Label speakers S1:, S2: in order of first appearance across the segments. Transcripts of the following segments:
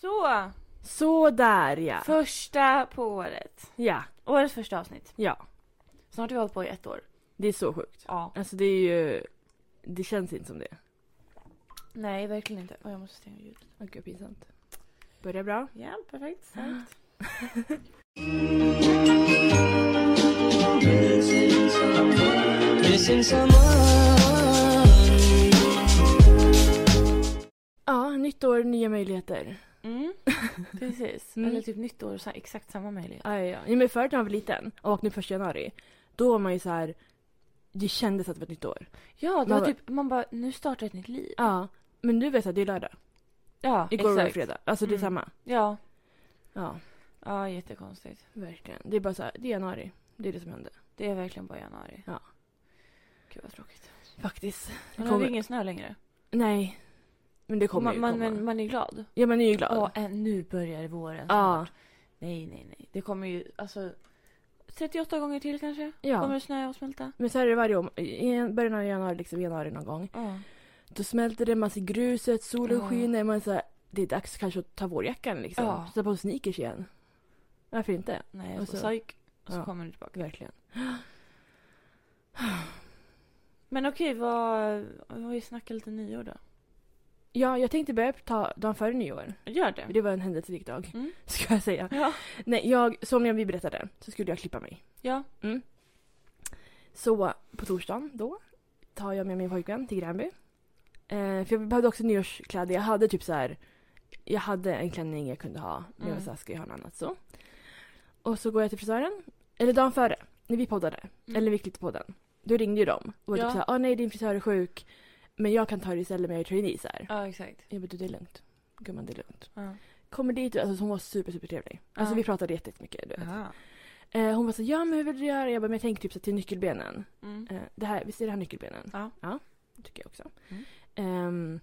S1: Så!
S2: Så där ja.
S1: Första på året.
S2: Ja,
S1: Årets första avsnitt.
S2: ja.
S1: Snart har vi hållit på i ett år.
S2: Det är så sjukt.
S1: Ja.
S2: Alltså det är ju... Det känns inte som det.
S1: Nej, verkligen inte. Åh, jag måste stänga ljudet.
S2: Åh gud, pinsamt. Börjar bra.
S1: Ja, perfekt. Starkt.
S2: Ja, nytt år, nya möjligheter.
S1: Mm. Precis.
S2: Mm.
S1: Eller typ nytt år, så här, exakt samma möjlighet.
S2: Ja, ja, ja. Nej, men förut när man var liten och vaknade första januari, då var man ju så här. Det kändes att det var ett nytt år.
S1: Ja, det
S2: Man
S1: var
S2: bara-
S1: typ, man bara, nu startar ett nytt liv.
S2: Ja. Men nu vet jag att det är lördag.
S1: Ja,
S2: Igår var det fredag. Alltså det är
S1: Mm.
S2: samma.
S1: Ja.
S2: Ja,
S1: Ja, jättekonstigt.
S2: verkligen. Det är bara så här, det är januari. Det är det som hände.
S1: Det är verkligen bara januari.
S2: Ja.
S1: Gud vad tråkigt.
S2: Faktiskt.
S1: Men nu har
S2: kommer-
S1: vi ingen snö längre.
S2: Nej. Men det kommer
S1: man,
S2: ju
S1: man,
S2: komma.
S1: Men man är glad.
S2: Ja, man är ju glad.
S1: Ja. Åh, än- nu börjar våren
S2: Ja.
S1: snart. Nej, nej, nej. Det kommer ju, alltså 38 gånger till kanske.
S2: Ja.
S1: Kommer det snöa och smälta.
S2: Men så här är det varje år. I början av januari, liksom i januari någon gång.
S1: Ja.
S2: Då smälter det, man ser gruset, solen
S1: Ja.
S2: skiner. Man är så här, det är dags kanske att ta vårjackan liksom.
S1: Ja.
S2: Sätta på sneakers igen. Varför inte?
S1: Nej,
S2: Och
S1: och så,
S2: så-
S1: psyk. Och så
S2: Ja.
S1: kommer det tillbaka.
S2: Verkligen.
S1: Men okej, vad... vad Vi snackar lite nyår då.
S2: Ja, jag tänkte börja ta dagen före nyår.
S1: Gör det.
S2: Det var en händelserik dag,
S1: Mm.
S2: ska jag säga.
S1: Ja.
S2: Nej, jag, som jag vi berättade, så skulle jag klippa mig.
S1: Ja.
S2: Så på torsdagen då tar jag med min pojkvän till Gränby. Eh, för jag behövde också nyårskläder. Jag hade typ så här. Jag hade en klänning jag kunde ha. Men jag var
S1: Mm.
S2: såhär, ska jag ha något annat så? Och så går jag till frisören. Eller dagen före, när vi poddade.
S1: Mm.
S2: Eller vi klippte podden. Då ringde ju de. Och var
S1: Ja.
S2: typ såhär, ah, nej din frisör är sjuk. Men jag kan ta det istället, men jag är trainee såhär.
S1: Ja, exakt.
S2: Jag bara, du det är lugnt. Gumman det är lugnt.
S1: Ja.
S2: Kommer dit, alltså hon var super super trevlig. Alltså
S1: Ja.
S2: vi pratade jättemycket. Du vet.
S1: Aha.
S2: Eh, hon var så ja men hur vill du göra? Jag bara, men jag tänkte typ så här till nyckelbenen.
S1: Mm.
S2: Eh, det här, visst är det här nyckelbenen?
S1: Ja.
S2: Det tycker jag också.
S1: Mm.
S2: Ehm,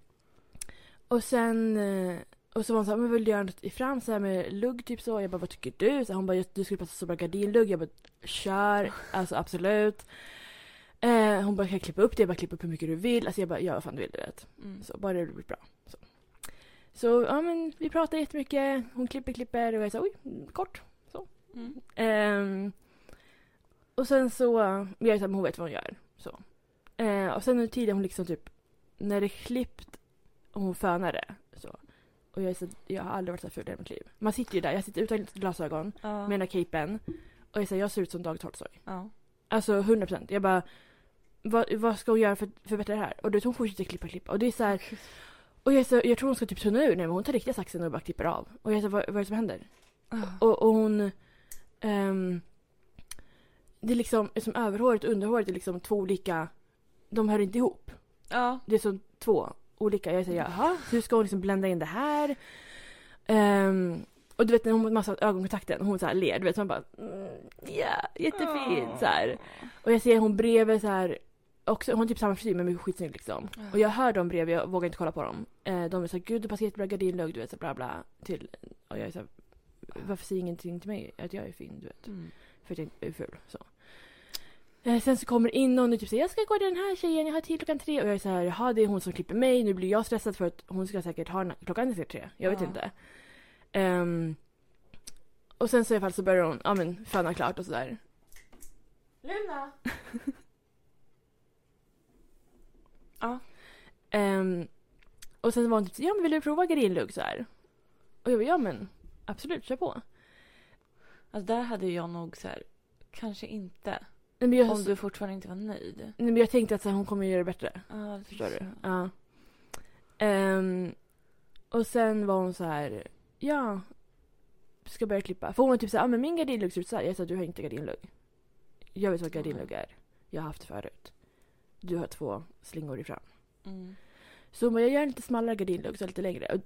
S2: och sen, eh, och så var hon så här, men vill du göra något i fram så här med lugg typ så? Jag bara, vad tycker du? Så här, hon bara, du skulle passa så bra gardinlugg. Jag bara, kör, alltså absolut. Eh, hon bara, kan jag klippa upp det? Jag bara, klipp upp hur mycket du vill. Alltså jag bara, gör vad fan du vill du vet.
S1: Mm.
S2: Så bara det blir bra. Så, så ja men vi pratar jättemycket. Hon klipper, klipper och jag sa oj, kort.
S1: Mm.
S2: Ehm, och sen så, jag är såhär, men hon vet vad hon gör. Så. Eh, och sen under tiden hon liksom typ, när det är klippt och hon fönar det. Så. Och jag, är så, jag har aldrig varit så här ful i hela mitt liv. Man sitter ju där, jag sitter utan glasögon
S1: Ja.
S2: med den här capen. Och jag, säger, jag ser ut som Dag Tolstoy.
S1: ja.
S2: Alltså 100 procent. Jag bara, vad, vad ska hon göra för att förbättra det här? Och du vet, hon fortsätter klippa, klippa. Och det är så här, och jag, är så, jag tror hon ska typ tunna ur. Nej, men hon tar riktiga saxen och bara klipper av. Och jag sa, vad, vad är det som händer?
S1: Ah.
S2: Och, och hon... ehm, det är liksom, som överhåret och underhåret är liksom två olika... De hör inte ihop.
S1: Ja.
S2: Det är som två olika. Jag säger jaha, hur ska hon liksom blända in det här? Ehm, och du vet när hon har massa ögonkontakten, hon så här ler. Du vet, så man bara mm, ja, jättefint så här. Och jag ser hon bredvid så här. Också, hon har typ samma frisyr men mycket skitsnygg liksom.
S1: Ja.
S2: Och jag hör dem bredvid, jag vågar inte kolla på dem. Eh, de är såhär, gud du passar jättebra gardinlugg, du vet så bla bla. Till, och jag är såhär, varför säger ingenting till mig att jag är fin, du vet?
S1: Mm.
S2: För att jag är ful. Så. Eh, sen så kommer in någon och typ säger, jag ska gå till den här tjejen, jag har tid klockan tre. Och jag är såhär, jaha det är hon som klipper mig, nu blir jag stressad för att hon ska säkert ha den här, klockan är tre, jag vet
S1: Ja.
S2: inte. Ehm, och sen så i alla fall så börjar hon, ja men föna klart och sådär.
S1: Luna!
S2: Ehm, och sen var hon typ så, ja men vill du prova grillugg så här? Och jag bara, ja men absolut, kör på.
S1: Alltså där hade jag nog så här, kanske inte.
S2: Nej, men jag,
S1: Om du fortfarande inte var nöjd.
S2: nej, men jag tänkte att så här, hon kommer göra det bättre.
S1: Ja, det
S2: Förstår
S1: så.
S2: du? Ja. Ehm, och sen var hon så här, ja. Ska börja klippa. För hon var typ så här, ja men min gardinlugg ser ut så här. Jag sa, du har inte gardinlugg. Jag vet vad gardinlugg är. Jag har haft förut. Du har två slingor ifrån.
S1: Mm.
S2: Så hon bara, jag gör en lite smalare gardinlugg, så lite längre. Och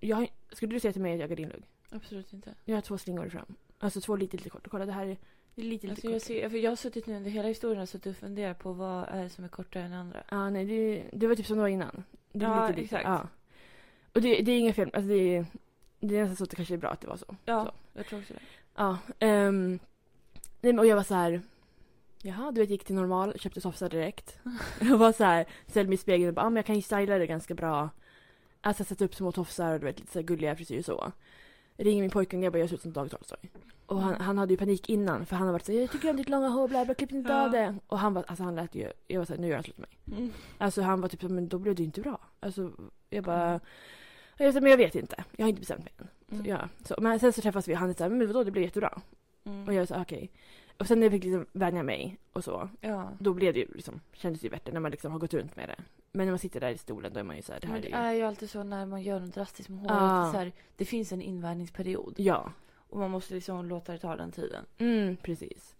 S2: Jag, har- skulle du säga till mig att jag har gardinlugg?
S1: Absolut inte.
S2: Jag har två slingor fram. Alltså två lite, lite kort. Kolla det här är det är lite, lite
S1: Alltså
S2: kort.
S1: jag, ser, för jag har suttit nu under hela historien och suttit och funderat på vad är det som är kortare än andra.
S2: Ja, nej, det, det var typ som det var innan. Det är
S1: Ja,
S2: lite, lite,
S1: exakt.
S2: Ja. Och det, det är inget fel. Alltså det, är- det är nästan så att det kanske är bra att det var så.
S1: Ja,
S2: Så.
S1: jag tror också det.
S2: Ja. ehm, nej, men, och jag var så här. Jaha, du vet, gick till normal, köpte sofsa direkt. jag var så här, ställde mig i spegeln och bara, ah, men jag kan ju styla det ganska bra. Alltså jag sätter upp små tofsar och du vet, lite så här gulliga frisyrer så. Ringer min pojkvän och jag bara, jag ser ut som Dag Tolstoy. Och han, han hade ju panik innan för han har varit såhär, jag tycker om ditt långa hår, bla bla, klipp inte
S1: Ja.
S2: av det. Och han var, alltså han lät ju, jag var såhär, nu gör han slut med mig.
S1: Mm.
S2: Alltså han var typ så, men då blev det ju inte bra. Alltså jag bara, jag sa, men jag vet inte, jag har inte bestämt mig än. Så, ja, så, men sen så träffas vi och han är såhär, men vadå det blev jättebra.
S1: Mm.
S2: Och jag sa okej. Och sen när jag fick liksom vänja mig och så,
S1: ja.
S2: då blev det ju liksom, kändes det ju bättre när man liksom har gått runt med det. Men när man sitter där i stolen då är man ju såhär, det här
S1: Men det
S2: är ju...
S1: är ju alltid så när man gör något drastiskt med håret.
S2: Ja.
S1: Det, är så här, det finns en invärningsperiod.
S2: Ja,
S1: Och man måste liksom låta det ta den tiden.
S2: mm, precis.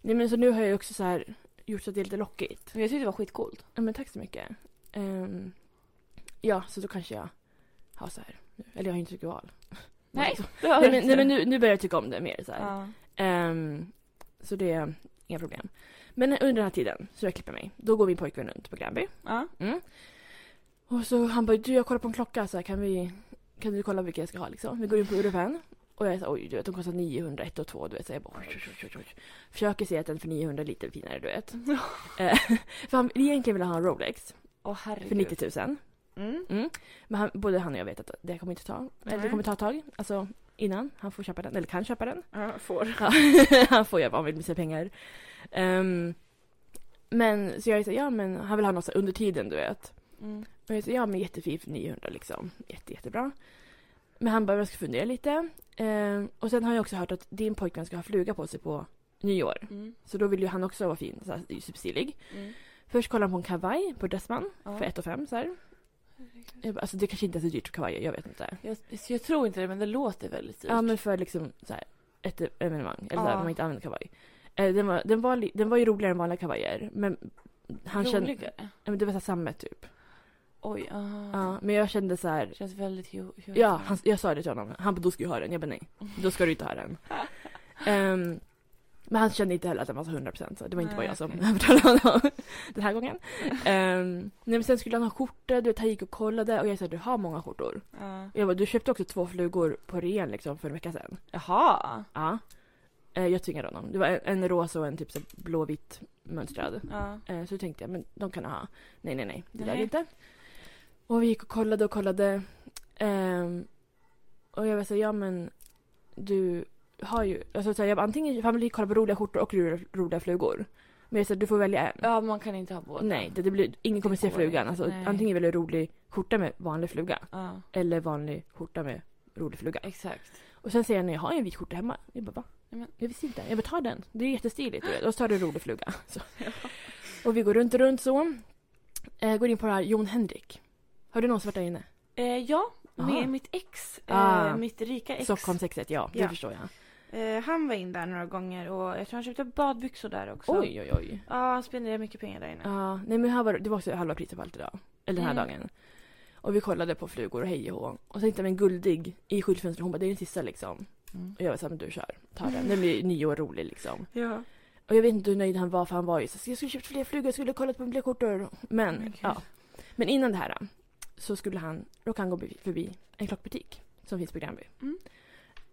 S2: Nej men så nu har jag ju också så här gjort så att det är lite lockigt.
S1: Men jag tyckte det var skitcoolt.
S2: Ja, men tack så mycket. Ehm, ja, så då kanske jag har så här nu. Eller jag har inte så mycket val.
S1: Nej,
S2: nej, men, nej men nu, nu börjar jag tycka om det mer så här.
S1: Ja.
S2: Ehm, så det är inga problem. Men under den här tiden så jag klipper mig, då går min pojkvän runt på Gränby.
S1: Ja.
S2: Och så han bara, du jag kollar på en klocka så här, kan vi, kan du kolla vilka jag ska ha liksom? Vi går in på Europen. Och jag är så här, oj du vet de kostar 900, 1 och 2 du vet. Så jag bara, oj, oj, oj, oj, oj. Försöker se att den för 900 är lite finare du vet. Eh, för han, egentligen ville han ha en Rolex
S1: Åh
S2: för
S1: herregud.
S2: 90 000.
S1: Mm.
S2: Men han, både han och jag vet att det kommer inte ta, eller det
S1: Nej.
S2: kommer ta ett tag. Alltså innan han får köpa den, eller kan köpa den.
S1: Ja, får.
S2: Ja, han får göra vad han vill med sina pengar. Ehm, men så jag är så här, ja men han vill ha något så här under tiden du vet.
S1: Mm.
S2: Och jag sa, ja men jättefin för 900 liksom. Jätte, jättebra. Men han bara, jag ska fundera lite. Ehm, och sen har jag också hört att din pojkvän ska ha fluga på sig på nyår.
S1: Mm.
S2: Så då vill ju han också vara fin, så här, superstilig.
S1: Mm.
S2: Först kollar han på en kavaj på Dressman
S1: Ja.
S2: för 1 500 så här.
S1: Herregud.
S2: Jag bara, Alltså det kanske inte är så dyrt för kavajer, jag vet inte.
S1: Jag, så jag tror inte det, men det låter väldigt dyrt.
S2: Ja men för liksom så här, ett evenemang. Eller så här,
S1: Ja.
S2: när man inte använder kavaj. Eh, den, var, den, var, li- den var ju roligare än vanliga kavajer. Men han kände, ja,
S1: Roligare.
S2: men det var så här sammet typ.
S1: Oj, aha.
S2: Ja, men jag kände så här,
S1: Känns väldigt hu- hu-
S2: Ja, han, jag sa det till honom. Han bara, då ska jag ha den. Jag bara, nej. Då ska du inte ha den. Ehm, men han kände inte heller att den var så 100% så det var inte
S1: Nej,
S2: bara jag som
S1: okej.
S2: övertalade honom den här gången. Um, nej, men sen skulle han ha skjorta, du vet, han gick och kollade och jag sa, du har många skjortor.
S1: Ja.
S2: Och jag bara, du köpte också två flugor på ren liksom för en vecka sedan.
S1: Jaha.
S2: Ja. Eh, jag tvingade honom. Det var en, en rosa och en typ så här blåvitt mönstrad.
S1: Ja.
S2: Eh, Så tänkte jag, men de kan ha. Nej, nej, nej, det där
S1: Nej.
S2: inte. Och vi gick och kollade och kollade. Ehm, och jag var så här, ja men du har ju, alltså så här, jag bara, antingen, för han vill ju kolla på roliga skjortor och roliga, roliga flugor. Men jag sa, du får välja en.
S1: ja, man kan inte ha båda.
S2: Nej, det, det blir, ingen kommer
S1: Det
S2: se
S1: går
S2: flugan.
S1: inte,
S2: Alltså,
S1: nej.
S2: antingen vill du ha rolig skjorta med vanlig fluga
S1: Ja,
S2: eller vanlig skjorta med rolig fluga.
S1: exakt.
S2: Och sen säger han, jag har ju en vit skjorta hemma. Jag bara, va?
S1: Nej, men-
S2: Jag visste inte. Jag bara, ta den. Det är jättestiligt. du vet. Och så tar du en rolig fluga. Så. Och vi går runt och runt så. Eh, går in på det här Jon Henrik. Har du någonsin varit där inne?
S1: Eh, ja,
S2: Aha.
S1: med mitt ex. Eh,
S2: Ah.
S1: Mitt rika ex.
S2: Stockholmsexet, ja. Det
S1: Ja.
S2: förstår jag.
S1: Eh, han var in där några gånger och jag tror han köpte badbyxor där också.
S2: Oj, oj, oj.
S1: Ja, han spenderade mycket pengar där inne.
S2: Ja, nej men här var, det var också halva priset på allt idag. Eller den här
S1: Mm.
S2: dagen. Och vi kollade på flugor och hej och hå. Och så hittade vi en guldig i skyltfönstret. Hon bara, det är den sista liksom.
S1: Mm.
S2: Och jag var såhär, men du kör. Ta den. Den blir nyår rolig liksom.
S1: Ja.
S2: Och jag vet inte hur nöjd han var för han var ju så jag skulle köpt fler flugor, jag skulle kollat på fler skjortor. Men,
S1: Okej.
S2: ja. Men innan det här så skulle han, råkade han gå förbi en klockbutik som finns på Gränby.
S1: Mm.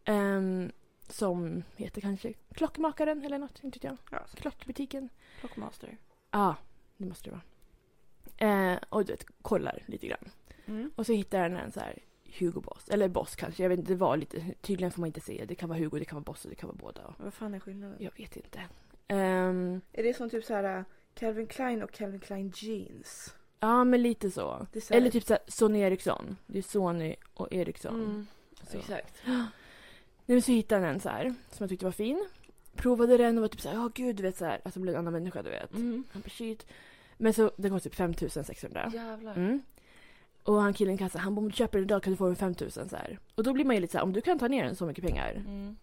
S2: Ehm, som heter kanske Klockmakaren eller något, inte vet jag.
S1: ja så
S2: Klockbutiken.
S1: Klockmaster.
S2: Ja, det måste det vara. Eh, och du vet, kollar lite grann.
S1: Mm.
S2: Och så hittar han en så här Hugo Boss, eller Boss kanske, jag vet inte, det var lite, tydligen får man inte säga, det kan vara Hugo, det kan vara Boss och det kan vara båda.
S1: Vad fan är skillnaden?
S2: Jag vet inte. Ehm,
S1: Är det som typ så här Calvin Klein och Calvin Klein jeans?
S2: Ja, men lite så.
S1: Det är så här-
S2: Eller typ såhär, Sony Ericsson. Det är Sony och Ericsson.
S1: Mm.
S2: Så.
S1: Exakt.
S2: Nej, men så hittade han en så här som jag tyckte var fin. Provade den och var typ såhär, ja gud du vet såhär. Alltså blev en annan människa du vet.
S1: Mm.
S2: Han bara shit. Men så, den kostade typ 5600.
S1: Jävlar.
S2: Mm. Och han killen i kassan, han bara om du köper den idag kan du få den 5000 så här. Och då blir man ju lite såhär, om du kan ta ner den så mycket pengar,
S1: Mm.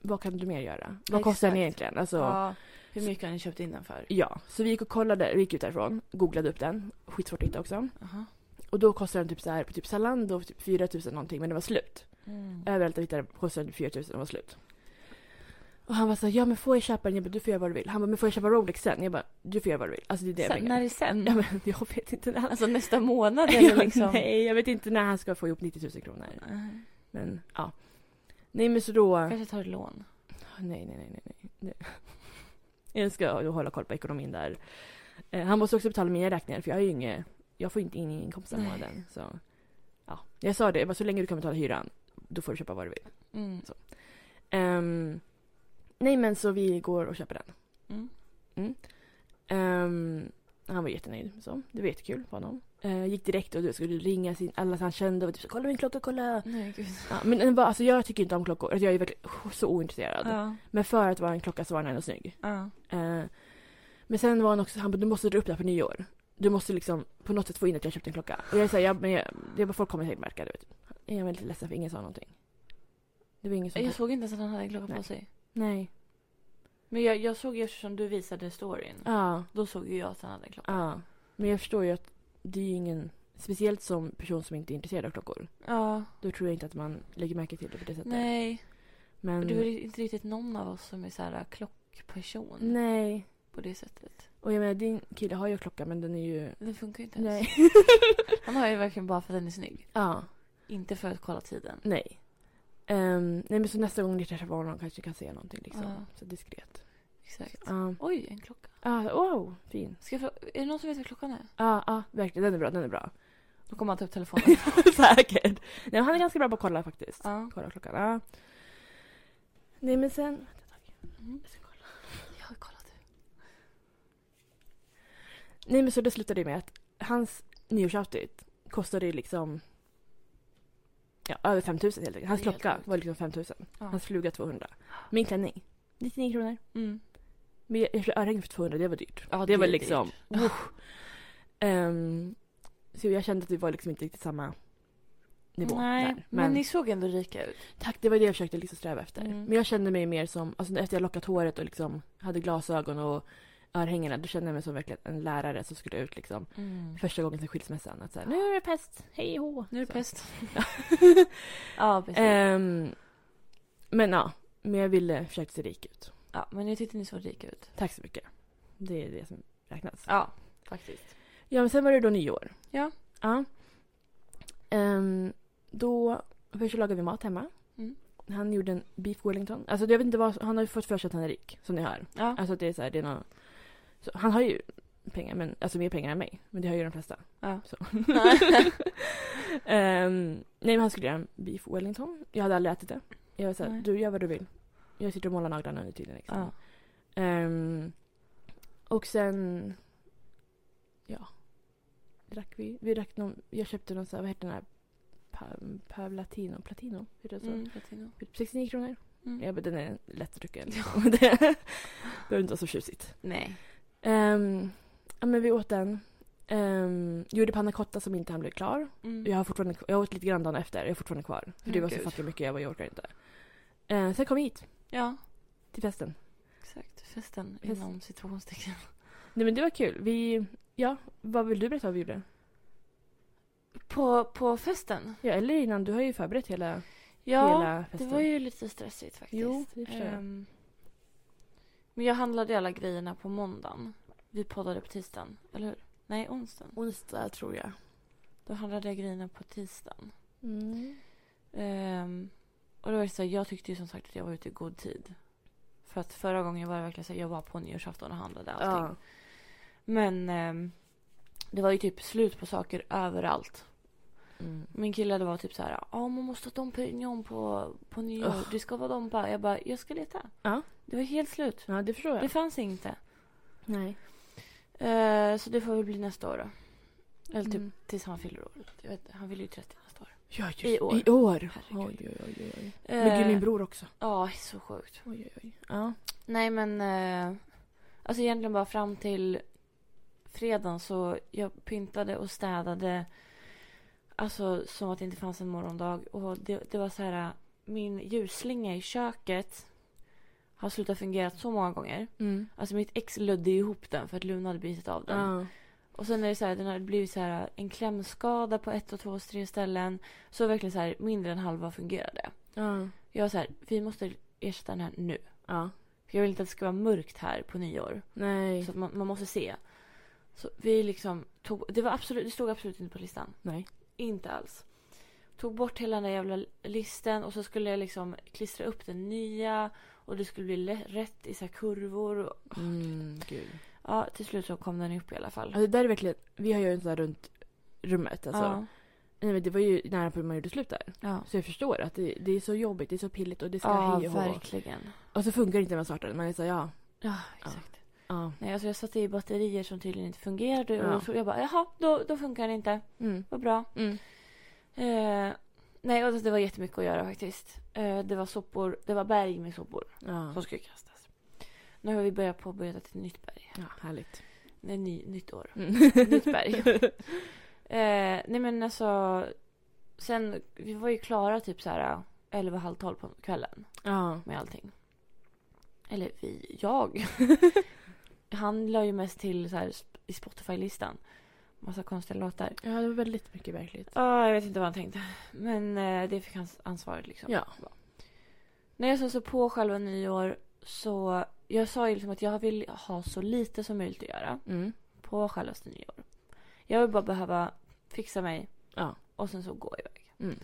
S2: vad kan du mer göra? Vad kostar
S1: Exakt.
S2: den egentligen? Alltså, ja.
S1: Ja. Hur mycket har ni köpt in den för?
S2: Så vi gick och kollade, vi gick ut därifrån, googlade upp den. Skitsvårt att hitta också.
S1: Aha.
S2: Och då kostade den typ så här på typ Zalando typ 4000 någonting men det var slut.
S1: Mm.
S2: Överallt jag hittade kostade 4000 och var slut. Och han var så här, ja men får jag köpa den? Jag bara, du får göra vad du vill. Han bara, men får jag köpa Rolex sen? Jag bara, du får göra vad du vill. Alltså det är det jag
S1: sen,
S2: pengar.
S1: när är sen?
S2: Ja, men, jag vet inte när han...
S1: Alltså nästa månad
S2: Ja,
S1: eller liksom?
S2: Nej, jag vet inte när han ska få ihop 90 000 kronor.
S1: Nej.
S2: Men ja. Nej men så då... Nej,
S1: Kanske tar ett lån.
S2: Ah, nej, nej, nej. nej. Det- Jag ska då hålla koll på ekonomin där. Eh, han måste också betala mina räkningar för jag har ju inget... Jag får inte in inkomst den
S1: Nej.
S2: månaden. Så. Ja, jag sa det, jag bara, så länge du kan betala hyran, då får du köpa vad du vill.
S1: Mm.
S2: Ehm, nej men så vi går och köper den.
S1: Mm.
S2: Ehm, han var jättenöjd. Så. Det var jättekul på honom. Eh, gick direkt och du skulle ringa sin, alla han kände och typ så, kolla min klocka, kolla.
S1: Nej, gud.
S2: Ja, men den var, alltså, jag tycker inte om klockor. Alltså, jag är verkligen så ointresserad.
S1: Ja.
S2: Men för att vara en klocka så var den ändå snygg.
S1: Ja.
S2: Eh, men sen var han också, han bara, du måste dra upp det här på nyår. Du måste liksom på något sätt få in att jag köpte en klocka. Och jag säger, jag, men jag, jag bara, folk kommer säkert märka. Du vet. Jag är väldigt ledsen för ingen sa någonting. Det var ingen som...
S1: Jag såg inte ens att han hade en klocka på
S2: Nej.
S1: sig.
S2: Nej.
S1: Men jag, jag såg ju eftersom du visade storyn.
S2: Ja.
S1: Då såg ju jag att han hade en klocka.
S2: Ja. Men jag förstår ju att det är ju ingen... Speciellt som person som inte är intresserad av klockor.
S1: Ja.
S2: Då tror jag inte att man lägger märke till det på det Mm. sättet.
S1: Nej.
S2: Men...
S1: Och Du är ju inte riktigt någon av oss som är så här äh, klockperson.
S2: Nej.
S1: På det sättet.
S2: Och jag menar, din kille har ju klocka men den är ju...
S1: Den funkar ju inte ens.
S2: Nej.
S1: Han har ju verkligen bara för att den är snygg.
S2: ja.
S1: Inte för att kolla tiden.
S2: Nej. Ehm, nej men så nästa gång ni träffar honom kanske ni kan säga någonting liksom.
S1: Ja.
S2: Så diskret.
S1: Exakt.
S2: Ja.
S1: Oj, en klocka.
S2: Ja, wow, fin.
S1: Ska jag få, är det någon som vet vad klockan är?
S2: Ja, ja, verkligen. Den är bra, den är bra.
S1: Då kommer han ta upp telefonen.
S2: Säkert. Nej, men han är ganska bra på att kolla faktiskt.
S1: ja.
S2: Kolla klockan, ja. Nej men sen...
S1: Mm. Jag har kollat.
S2: Nej men så det slutade ju med att hans nyårsoutfit kostade ju liksom... Ja, över 5000 helt enkelt. Hans
S1: Det är helt
S2: klocka
S1: sjukt.
S2: var liksom 5000.
S1: Ja.
S2: Hans fluga 200. Min klänning, 99 kronor.
S1: Mm.
S2: Men jag- jag köpte örhängen för 200, det var dyrt.
S1: Ja,
S2: det,
S1: det
S2: var
S1: är
S2: liksom...
S1: dyrt.
S2: usch. Ehm, så jag kände att vi var liksom inte riktigt samma nivå.
S1: Nej,
S2: där.
S1: men...
S2: Men,
S1: ni såg ändå rika ut.
S2: tack, det var det jag försökte liksom sträva efter.
S1: Mm.
S2: Men jag kände mig mer som, alltså efter jag lockat håret och liksom hade glasögon och örhängena, då kände jag mig som verkligen en lärare som skulle ut liksom
S1: Mm.
S2: första gången sen skilsmässan. Att så här, nu är det pest, hej och hå.
S1: Nu är det
S2: Så.
S1: pest. ja, precis.
S2: Ehm, men ja, men jag ville försöka se rik ut.
S1: Ja, men jag tyckte ni såg rika ut.
S2: Tack så mycket. Det är det som räknas.
S1: Ja, faktiskt.
S2: Ja, men sen var det då nyår.
S1: Ja.
S2: Ja. Ehm, då, först så lagade vi mat hemma.
S1: Mm.
S2: Han gjorde en beef wellington. Alltså jag vet inte vad, han har ju fått för sig att han är rik, som ni hör.
S1: Ja.
S2: Alltså att det är så här, det är nå- så, Han har ju pengar, men, alltså mer pengar än mig. Men det har ju de flesta.
S1: Ja.
S2: Så. Ehm, nej men han skulle göra en beef wellington. Jag hade aldrig ätit det. Jag var såhär,
S1: Nej.
S2: du gör vad du vill. Jag sitter och målar naglarna under tiden. Liksom.
S1: ja.
S2: Ehm, och sen... Ja. Drack vi. Vi drack någon, jag köpte någon så här, vad heter den här? Pa, Pavlatino? Platino? Heter det så?
S1: Mm, Latino.
S2: För typ 69 kronor.
S1: Mm.
S2: Jag bara, den är lättdrucken. liksom. Det behöver inte vara så tjusigt.
S1: Nej.
S2: Ehm, ja, men vi åt den. Ehm, gjorde panna cotta som inte han blev klar.
S1: Mm.
S2: Jag har fortfarande jag åt lite grann dagen efter. Jag har fortfarande kvar. För det
S1: Men
S2: var så
S1: gud.
S2: fattigt mycket. Jag bara, jag orkar inte. Ehm, sen kom vi hit.
S1: Ja,
S2: Till festen.
S1: exakt. Festen
S2: Fest.
S1: inom citationstecken.
S2: Nej men det var kul. Vi... Ja, vad vill du berätta vad vi gjorde?
S1: På, på festen?
S2: Ja, eller innan. Du har ju förberett hela,
S1: Ja,
S2: hela
S1: det
S2: festen.
S1: var ju lite stressigt faktiskt.
S2: Jo, det förstår jag.
S1: Ehm, men jag handlade ju alla grejerna på måndagen. Vi poddade på tisdagen, eller hur? Nej, onsdagen.
S2: onsdag, tror jag.
S1: Då handlade jag grejerna på tisdagen.
S2: Mm.
S1: Ehm, och då var det så här, jag tyckte ju som sagt att jag var ute i god tid. För att förra gången var det verkligen så här, jag var på nyårsafton och handlade allting.
S2: Ja.
S1: Men ehm, det var ju typ slut på saker överallt.
S2: Mm.
S1: Min kille det var typ så här, ja man måste ha Dom Pérignon på, på nyår.
S2: Ugh.
S1: Det ska vara Dom bara. Jag bara, jag ska leta.
S2: Ja.
S1: Det var helt slut.
S2: ja, det förstår jag.
S1: Det fanns inte.
S2: Nej.
S1: Eh, så det får väl bli nästa år då. Eller typ
S2: Mm.
S1: tills han fyller år. Jag vet, han fyller ju 30 nästa år.
S2: Ja, just
S1: I år.
S2: I år. Oj,
S1: Herregud.
S2: oj, oj, oj, oj. Men gud,
S1: Eh,
S2: min bror också.
S1: Ja, så sjukt.
S2: Oj, oj, oj. Ja.
S1: Nej men, eh, alltså egentligen bara fram till fredagen så jag pyntade och städade. Alltså som att det inte fanns en morgondag. Och det, det var så här, min ljusslinga i köket har slutat fungera så många gånger.
S2: Mm.
S1: Alltså mitt ex lödde ihop den för att Luna hade bitit av den.
S2: Ja.
S1: Och sen är det så här, den har blivit så här en klämskada på ett och två och tre ställen. Så verkligen så här, mindre än halva fungerade.
S2: Ja.
S1: Jag var så här, vi måste ersätta den här nu.
S2: ja.
S1: För jag vill inte att det ska vara mörkt här på nyår.
S2: Nej.
S1: Så att man, man måste se. Så vi liksom tog, det, var absolut, det stod absolut inte på listan.
S2: Nej.
S1: Inte alls. Tog bort hela den där jävla listen och så skulle jag liksom klistra upp den nya. Och det skulle bli lä- rätt i så här kurvor.
S2: Mm, gud.
S1: Ja, till slut så kom den upp i alla fall.
S2: Alltså, det där är verkligen... Vi har ju en sån där runt rummet. Alltså. Nej men det var ju nära på hur man gjorde slut där.
S1: Ja,
S2: Så jag förstår att det, det är så jobbigt, det är så pilligt och det ska
S1: ja
S2: hej och hå.
S1: verkligen.
S2: Och så funkar det inte när man startar den. Man är såhär, ja.
S1: Ja, exakt.
S2: ja.
S1: Nej, alltså jag satte i batterier som tydligen inte fungerade.
S2: Ja.
S1: Och så jag bara, jaha, då, då funkar den inte.
S2: Mm.
S1: Vad bra.
S2: Mm.
S1: Eh, nej, och det var jättemycket att göra faktiskt. Eh, det var sopor, det var berg med sopor
S2: Ja.
S1: som skulle kastas. Nu har vi börjat påbörja ett nytt berg.
S2: ja, härligt.
S1: Nej, ny, nytt år.
S2: Mm.
S1: Nytt berg. Eh, nej men alltså. Sen, vi var ju klara typ så här 11, halv 12 på kvällen
S2: ja.
S1: med allting. Eller vi, jag. Han la ju mest till så här sp- i Spotify-listan. Massa konstiga låtar.
S2: ja, det var väldigt mycket verkligt.
S1: Ja, jag vet inte vad han tänkte. Men eh, det fick han ansvaret liksom.
S2: Ja.
S1: När jag sen så på själva nyår så... Jag sa ju liksom att jag vill ha så lite som möjligt att göra
S2: Mm.
S1: på själva nyår. Jag vill bara behöva fixa mig
S2: Ja.
S1: och sen så gå iväg.
S2: Mm.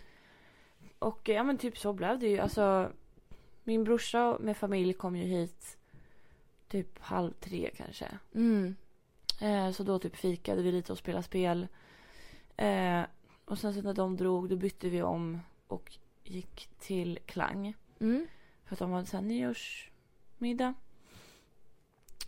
S1: Och eh, ja men typ så blev det ju. Alltså, min brorsa med familj kom ju hit typ halv tre kanske.
S2: Mm.
S1: Eh, så då typ fikade vi lite och spelade spel. Eh, och sen så när de drog då bytte vi om och gick till Klang.
S2: Mm.
S1: För att de hade såhär nyårsmiddag.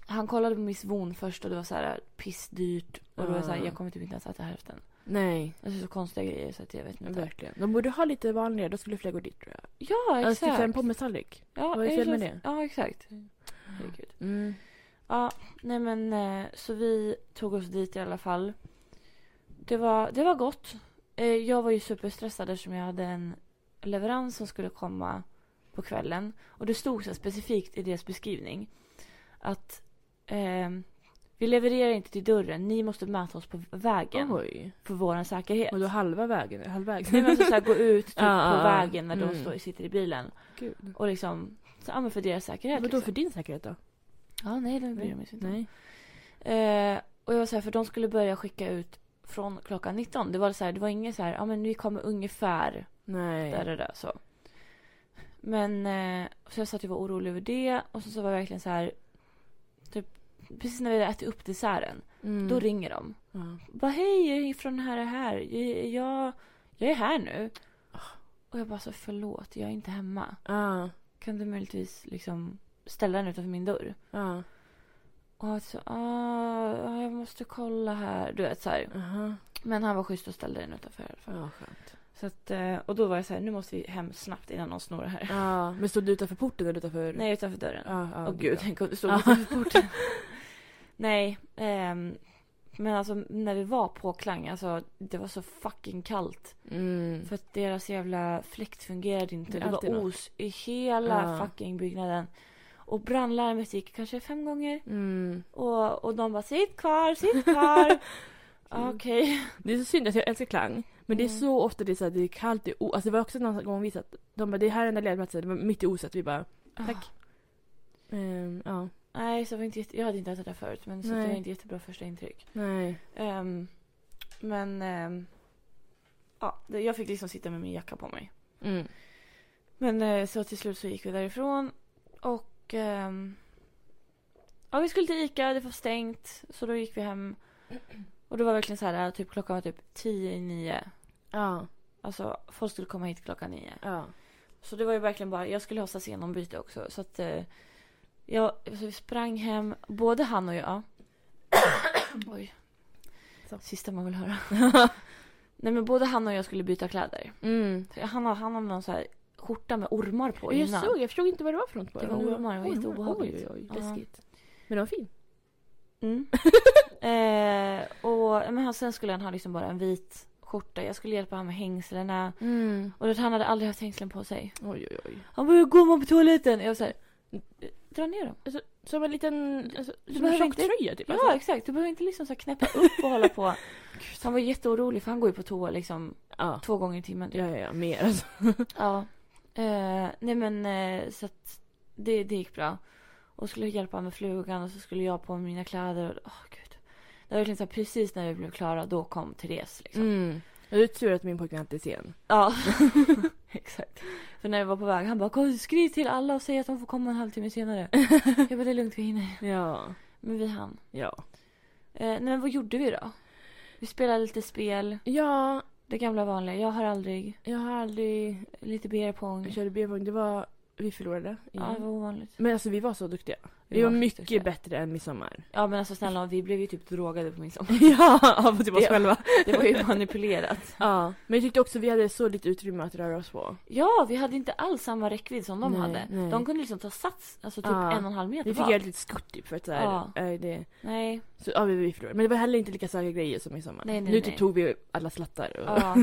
S1: Han kollade på Miss Von först och det var så här pissdyrt. Och det var så här,
S2: Ah.
S1: jag kommer typ inte ens äta hälften.
S2: Nej,
S1: Alltså så konstiga grejer så att jag vet inte.
S2: verkligen. De borde ha lite vanligare, då skulle fler gå dit tror jag.
S1: Ja
S2: Alltså
S1: exakt.
S2: typ en pommes-tallrik.
S1: ja,
S2: vad är fel med
S1: exakt.
S2: det?
S1: Ja exakt. Herregud.
S2: Mm.
S1: Ja, nej men eh, så vi tog oss dit i alla fall. Det var, det var gott. Eh, Jag var ju superstressad eftersom jag hade en leverans som skulle komma på kvällen. Och det stod så här specifikt i deras beskrivning att eh, vi levererar inte till dörren, ni måste möta oss på vägen
S2: Oj.
S1: för vår säkerhet.
S2: Och då halva vägen, halvvägs.
S1: Nej, men alltså, så här, gå ut typ,
S2: Ja, ja,
S1: på
S2: ja.
S1: vägen när de
S2: Mm.
S1: står, sitter i bilen
S2: Gud.
S1: och liksom, så, ja, men för deras säkerhet.
S2: Vadå
S1: liksom.
S2: för din säkerhet då?
S1: Ja, nej, det bryr de sig inte om.
S2: Nej.
S1: Eh, och jag var så här, för de skulle börja skicka ut från klockan 19. Det var så här, det var inget så här, ja men vi kommer ungefär
S2: Nej.
S1: där och där så. Men, eh, så jag sa att jag var orolig över det och så, så var jag verkligen så här, typ precis när vi hade ätit upp desserten,
S2: Mm.
S1: då ringer de.
S2: Ja.
S1: Bara hej, jag ringer från det här och här. Jag, jag, jag är här nu.
S2: Ah.
S1: Och jag bara så förlåt, jag är inte hemma.
S2: Ja.
S1: Kan du möjligtvis liksom ställa den utanför min dörr?
S2: Ja.
S1: Och han så, ah, ja, jag måste kolla här. Du vet så här.
S2: Aha.
S1: Men han var schysst och ställde den utanför i alla fall.
S2: Ja, skönt.
S1: Så att, eh, och då var jag så här, nu måste vi hem snabbt innan någon snor det här.
S2: Ja. Men stod du utanför porten eller utanför?
S1: Nej, utanför dörren.
S2: Mm. Ja, ja,
S1: Åh gud,
S2: bra.
S1: tänk om det stod
S2: Ja.
S1: utanför porten. Nej, ehm, men alltså när vi var på Klang, alltså det var så fucking kallt.
S2: Mm.
S1: För att deras jävla fläkt fungerade inte.
S2: Det är
S1: Det
S2: alltid
S1: var
S2: något.
S1: os i hela
S2: Ja.
S1: fucking byggnaden. Och brandlarmet gick kanske fem gånger.
S2: Mm.
S1: Och, och de bara sitt kvar, sitt kvar.
S2: Mm.
S1: Okej.
S2: Det är så synd, alltså jag älskar klang. Men det är
S1: Mm.
S2: så ofta det är så här, det är kallt, det är o- Alltså det var också någon gång vi satt, de bara det här är den där lediga platsen, det var mitt i oset. Vi bara, Tack. ehm, ja,
S1: Nej, så var inte jätte... jag hade inte ätit det förut men så att det
S2: Nej.
S1: var inte jättebra första intryck.
S2: nej.
S1: Ehm, men ehm, ja, det- jag fick liksom sitta med min jacka på mig.
S2: Mm.
S1: Men eh, så till slut så gick vi därifrån och ehm, ja, vi skulle till Ica, det var stängt så då gick vi hem. Och det var verkligen så här, typ klockan var typ tio i nio.
S2: Ja,
S1: Alltså folk skulle komma hit klockan nio.
S2: ja.
S1: Så det var ju verkligen bara, jag skulle ha stationombyte också så att eh, jag så vi sprang hem, både han och jag. Oj.
S2: Så.
S1: Sista man vill höra. Nej men både han och jag skulle byta kläder.
S2: Mm.
S1: För Han har, han har någon så här skjorta med ormar på
S2: Och jag
S1: innan.
S2: såg, jag förstod inte vad det var för något bara.
S1: Det var
S2: Och-
S1: ormar, det var
S2: Oj,
S1: jätteobehagligt.
S2: Oj, oj,
S1: Ja.
S2: oj, läskigt. Men den var fin.
S1: Mm. eh, och men han, sen skulle han ha liksom bara en vit skjorta. Jag skulle hjälpa honom med hängslena.
S2: Mm.
S1: Och det, han hade aldrig haft hängslen på sig.
S2: Oj, oj, oj.
S1: Han bara, hur går man på toaletten? Jag var såhär, dra ner dem.
S2: Alltså, som en liten, alltså, som en
S1: behöver inte-
S2: tjocktröja typ.
S1: Ja,
S2: Alltså.
S1: exakt. Du behöver inte liksom så här knäppa upp och hålla på. Så han var jätteorolig för han går ju på toa liksom
S2: Ja.
S1: två gånger i timmen.
S2: ja, ja, ja, mer alltså.
S1: Ja. Eh, nej men eh, så att det, det gick bra. Och skulle hjälpa med flugan och så skulle jag på mig mina kläder. Och, åh, gud. Det var verkligen så här, precis när vi blev klara då kom Therese. Liksom.
S2: Mm. Det är tur att min pojkvän inte är sen.
S1: Ja, exakt. För när vi var på väg han bara "Kom, skriv till alla och säg att de får komma en halvtimme senare. jag bara det är lugnt vi hinner.
S2: Ja.
S1: Men vi hann.
S2: Ja.
S1: Eh, nej men vad gjorde vi då? Vi spelade lite spel.
S2: Ja,
S1: Det gamla vanliga. Jag har aldrig.
S2: Jag har aldrig...
S1: Lite beer pong.
S2: Jag körde B-poäng. Det var... Vi förlorade.
S1: Ja, det var ovanligt.
S2: Men alltså vi var så duktiga. Vi, var, mycket bättre än midsommar.
S1: Ja, men alltså snälla vi blev ju typ drogade på midsommar.
S2: ja, av typ
S1: Det-
S2: oss själva.
S1: Det var ju manipulerat.
S2: Ja. Men jag tyckte också vi hade så lite utrymme att röra oss på.
S1: Ja, vi hade inte alls samma räckvidd som de
S2: Nej,
S1: hade.
S2: nej.
S1: De kunde liksom ta sats, alltså typ
S2: Ja.
S1: en och en halv meter
S2: Vi fick
S1: var.
S2: göra ett litet skutt typ för att såhär,
S1: Ja.
S2: eh, det...
S1: Nej,
S2: Så, ja, vi, vi förlorade. Men det var heller inte lika starka grejer som i sommar.
S1: Nej, nej,
S2: nu typ
S1: nej.
S2: tog vi alla slattar och...
S1: ja.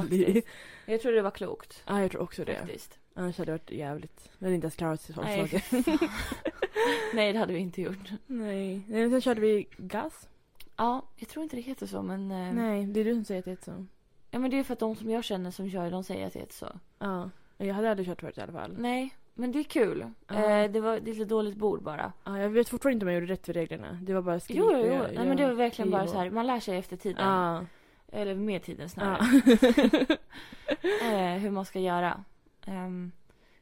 S2: Faktiskt.
S1: Jag tror det var klokt.
S2: ja, jag tror också det.
S1: Faktiskt.
S2: Annars hade det varit jävligt... Vi hade inte ens klarat oss.
S1: Nej,
S2: Nej.
S1: Nej, det hade vi inte gjort.
S2: Nej. Nej, men sen körde vi gas.
S1: Ja, jag tror inte det heter så, men... eh,
S2: Nej, det är du som säger att det är så.
S1: Ja, men det är för att de som jag känner som kör, de säger att det heter så.
S2: Ja. Jag hade aldrig kört förut i alla fall.
S1: Nej, men det är kul.
S2: Ja.
S1: Eh, det var det är lite dåligt bord bara.
S2: Ja, jag vet fortfarande inte om jag gjorde rätt för reglerna. Det var bara skrik
S1: Jo, jo,
S2: och
S1: jo.
S2: jag-
S1: Nej, men det
S2: jag-
S1: var verkligen bara
S2: Jo.
S1: så här, man lär sig efter tiden.
S2: Ja.
S1: Eller med tiden snarare.
S2: ja.
S1: eh, hur man ska göra. Ehm,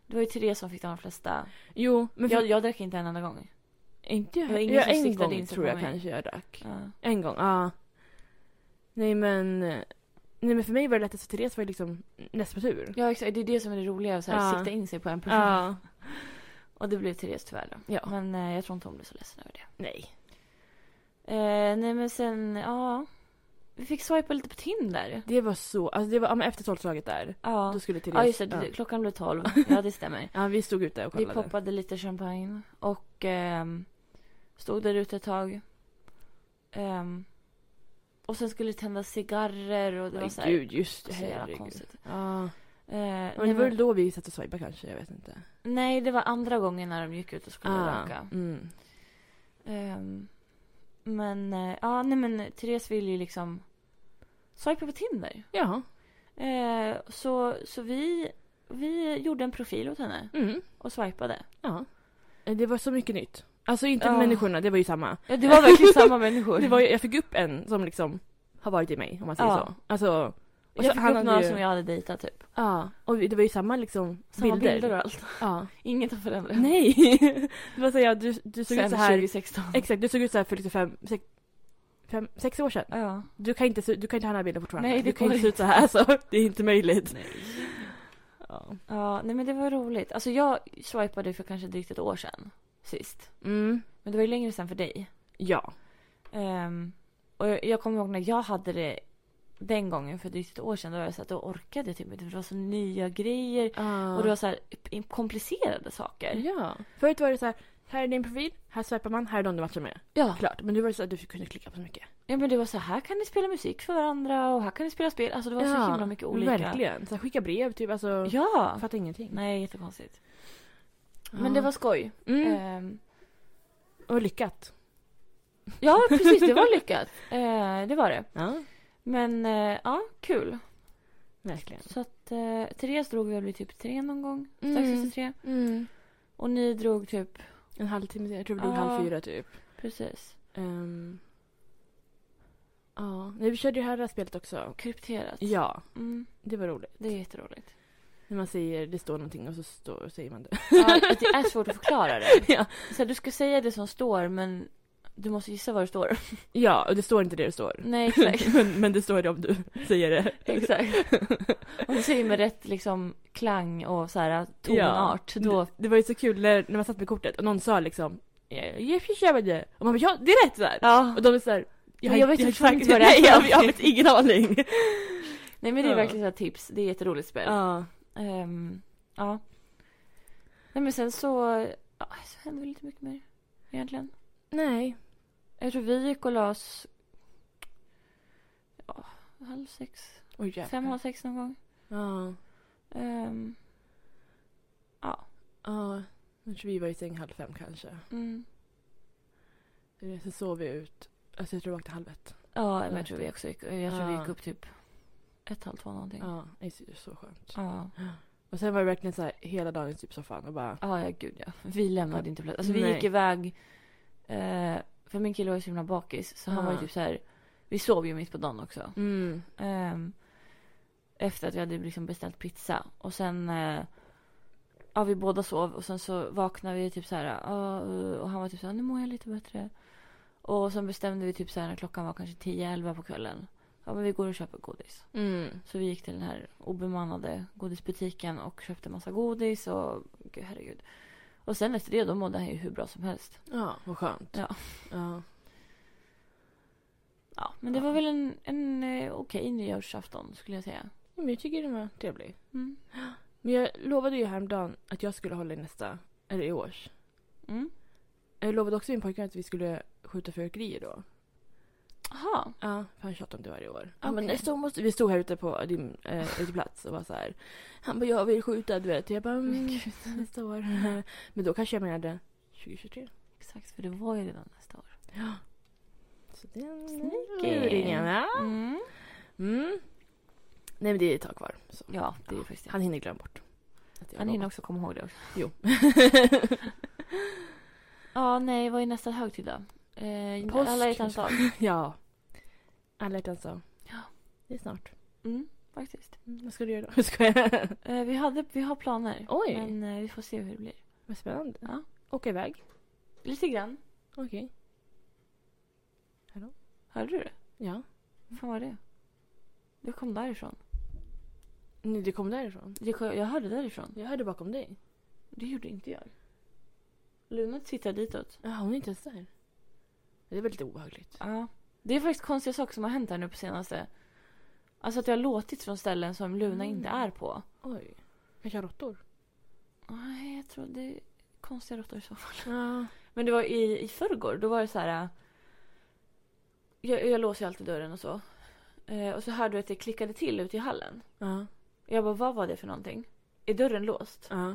S1: det var ju Therese som fick de flesta.
S2: jo, men för...
S1: Jag, jag drack inte en enda gång.
S2: inte jag.
S1: det var ingen
S2: ja,
S1: som
S2: en
S1: siktade
S2: gång
S1: in sig
S2: tror
S1: på
S2: jag
S1: mig.
S2: kanske jag drack.
S1: Ja.
S2: En gång, ja. Nej men... Nej men för mig var det lättast för Therese var ju liksom näst på tur.
S1: ja, exakt. Det är det som är det roliga. Så här,
S2: Ja.
S1: Sikta in sig på en person.
S2: Ja.
S1: Och det blev Therese tyvärr då.
S2: Ja.
S1: Men eh, jag tror inte hon blev så ledsen över det.
S2: Nej.
S1: Eh, nej, men sen, ja. Vi fick swipa lite på Tinder.
S2: Det var så, alltså det var, ja, men efter tolvslaget där.
S1: Ja,
S2: Då skulle Therese...
S1: ja just det.
S2: Ja.
S1: det- Klockan blev tolv. Ja, det stämmer.
S2: Ja, vi stod ute och
S1: Vi
S2: kollade.
S1: poppade lite champagne och ehm, stod där ute ett tag. Ehm, och sen skulle det tändas cigarrer och det var
S2: Oj,
S1: så här,
S2: gud, just det.
S1: så jävla
S2: herregud.
S1: konstigt.
S2: Ja.
S1: Eh, nej,
S2: Men det var väl
S1: men,
S2: då vi satt och swipade kanske, jag vet inte.
S1: nej, det var andra gången när de gick ut och skulle röka.
S2: Mm.
S1: Ehm, men, eh, ja, nej men Therese ville ju liksom swipa på Tinder.
S2: Ja.
S1: Eh, så så vi, vi gjorde en profil åt henne
S2: Mm.
S1: och swipade.
S2: Ja. Eh, Det var så mycket nytt. Alltså inte
S1: Ja.
S2: människorna, det var ju samma.
S1: Ja, det var verkligen samma människor.
S2: Det var, ju- jag fick upp en som liksom har varit i mig om man säger
S1: Ja.
S2: så. Alltså, och
S1: jag
S2: så-
S1: fick upp
S2: hade
S1: några
S2: ju-
S1: som jag hade dejtat typ.
S2: Ja, och det var ju samma liksom
S1: Samma
S2: bilder.
S1: bilder, och allt.
S2: Ja.
S1: Inget har förändrats.
S2: Nej! Det var så här, du, du såg
S1: Sen
S2: ut så här.
S1: 2016.
S2: Exakt, du såg ut så här för liksom fem, sex, fem, sex år sedan.
S1: Ja.
S2: Du kan inte, se- du kan inte ha den här bilden fortfarande.
S1: Nej, det
S2: du kan
S1: går
S2: inte se ut så här så. Det är inte möjligt.
S1: Nej.
S2: Ja.
S1: ja, nej men det var roligt. Alltså jag swipade för kanske drygt ett år sedan sist.
S2: Mm.
S1: Men det var ju längre sedan för dig.
S2: Ja.
S1: Ehm, och jag, jag kommer ihåg när jag hade det den gången för drygt ett år sedan. Då var jag så att då orkade jag typ inte för det var så nya grejer. Och det var så här komplicerade saker.
S2: Ja. Förut var det så här, här är din profil, här swipar man, här är de du matchar med.
S1: Ja.
S2: Klart. Men nu var det så att du kunde klicka på så mycket.
S1: ja, men det var så här, här kan ni spela musik för varandra och här kan ni spela spel. Alltså det var så himla mycket olika.
S2: Verkligen. Så här, skicka brev typ, alltså.
S1: Ja.
S2: Jag fattar ingenting.
S1: Nej, jättekonstigt.
S2: Ja.
S1: Men det var skoj.
S2: Mm.
S1: Ehm,
S2: Och lyckat.
S1: Ja, precis. Det var lyckat. Eh, det var det.
S2: Ja.
S1: Men eh, ja, kul.
S2: Verkligen.
S1: Så att eh, Therese drog väl vid typ tre någon gång.
S2: Mm.
S1: Strax efter tre. Och ni drog typ,
S2: En halvtimme senare, jag tror vi drog
S1: Mm. Ja.
S2: halv fyra typ.
S1: precis,
S2: Ehm. Ja, nej, vi körde ju det här spelet också.
S1: krypterat.
S2: Ja,
S1: Mm,
S2: det var roligt.
S1: det är jätteroligt.
S2: När man säger det står någonting och så står, säger man det.
S1: Ja, det är svårt att förklara det.
S2: ja.
S1: Så här, du ska säga det som står, men du måste gissa vad det står.
S2: ja, och det står inte det det står.
S1: Nej, exakt.
S2: men, men det står det om du säger det.
S1: exakt. Om du säger med rätt liksom, klang och så här, tonart, då...
S2: Det, det var ju så kul när, när man satt med kortet och någon sa liksom "Eh, jag fick köpa det. Och man bara ja, det är rätt där.
S1: Ja.
S2: Och de är såhär
S1: Men jag vet fortfarande inte vad det är
S2: Nej,
S1: för
S2: jag,
S1: någonting.
S2: jag vet ingen aning.
S1: Nej, men det är
S2: Ja.
S1: verkligen så här tips. Det är ett jätteroligt spel.
S2: Ja.
S1: Ehm, ja. Nej men sen så, ja, så hände väl inte mycket mer egentligen.
S2: Nej.
S1: Jag tror vi gick och la oss ja, halv sex,
S2: Oj, jävlar.
S1: fem, halv sex någon gång.
S2: Ja.
S1: Ehm,
S2: Ja, jag tror vi var i säng halv fem kanske.
S1: mm,
S2: Eh, Så sov vi ut. Alltså jag tror vi vaknade halv ett.
S1: ja, men jag tror vi också gick, jag tror vi
S2: Ja.
S1: gick upp typ ett, halv två någonting. Ja.
S2: Ja, det är så- så skönt.
S1: Ja,
S2: Och sen var det verkligen så här hela dagen i typ soffan och bara...
S1: ja gud ja. Vi lämnade inte plats. Alltså vi
S2: Nej.
S1: gick iväg, eh, för min kille var ju så himla bakis så han
S2: Ja.
S1: var ju typ så här, vi sov ju mitt på dagen också.
S2: Mm.
S1: Ehm, efter att vi hade liksom beställt pizza. Och sen... Eh, ja, vi båda sov och sen så vaknade vi typ så här. ja, eh, och han var typ så här, nu mår jag lite bättre. Och sen bestämde vi typ så här, klockan var kanske 10-11 på kvällen. ja, men vi går och köper godis.
S2: Mm.
S1: Så vi gick till den här obemannade godisbutiken och köpte massa godis och gud, herregud. Och sen efter det då mådde han ju hur bra som helst.
S2: Ja, vad skönt.
S1: Ja.
S2: Ja.
S1: Ja, men det
S2: Ja.
S1: var väl en, en eh, okej nyårsafton skulle jag säga.
S2: Ja, Men jag tycker den var trevlig.
S1: Mm.
S2: Men jag lovade ju häromdagen att jag skulle hålla i nästa, eller i års.
S1: Mm.
S2: Jag lovade också min pojkvän att vi skulle skjuta fyrverkerier då.
S1: Aha.
S2: Ja, för han tjatar om det varje år. Ja, men
S1: Okej.
S2: nästa år måste... Vi stod här ute på din eh, uteplats och var så här. Han bara, jag vill skjuta, du vet. Jag bara,
S1: Men
S2: mm,
S1: gud.
S2: nästa år. men då kanske jag menade 2023.
S1: Exakt, för det var ju redan nästa år.
S2: Så det är
S1: Sneaky.
S2: luringarna.
S1: Mm.
S2: Mm. Nej, men det är ett tag kvar. Så.
S1: Ja, det är ju faktiskt det.
S2: Han hinner glömma bort. att jag
S1: Han hinner
S2: lovar.
S1: också komma ihåg det också.
S2: Jo.
S1: Ja, nej, vad är nästa högtid då? Eh,
S2: Påsk.
S1: Alla hjärtans dag.
S2: ja. Alla hjärtans dag.
S1: Ja.
S2: Det är snart.
S1: Mm, faktiskt.
S2: Mm, vad ska du göra då? Ska jag?
S1: Eh, vi, hade, vi har planer.
S2: Oj.
S1: Men eh, vi får se hur det blir.
S2: Vad spännande.
S1: Ja.
S2: Åka iväg.
S1: Lite grann.
S2: Okej.
S1: Hörde du det?
S2: Ja.
S1: Vad fan var det? Det kom därifrån.
S2: Nej, det kom därifrån.
S1: Det kom, jag hörde därifrån.
S2: Jag hörde bakom dig.
S1: Det gjorde inte jag. Luna tittar ditåt.
S2: Ja, hon är inte ens där. Det är väldigt obehagligt.
S1: Ja. Det är faktiskt konstiga saker som har hänt här nu på senaste. Alltså att jag har låtit från ställen som Luna
S2: Mm.
S1: inte är på.
S2: Oj. Kanske har råttor?
S1: Nej, jag tror det är konstiga råttor i så fall.
S2: Ja.
S1: Men det var i, i förrgår, då var det så här... äh, Jag, jag låser ju alltid dörren och så. Eh, och så hörde jag att det klickade till ute i hallen.
S2: Ja.
S1: Jag bara, vad var det för någonting? Är dörren låst?
S2: Ja.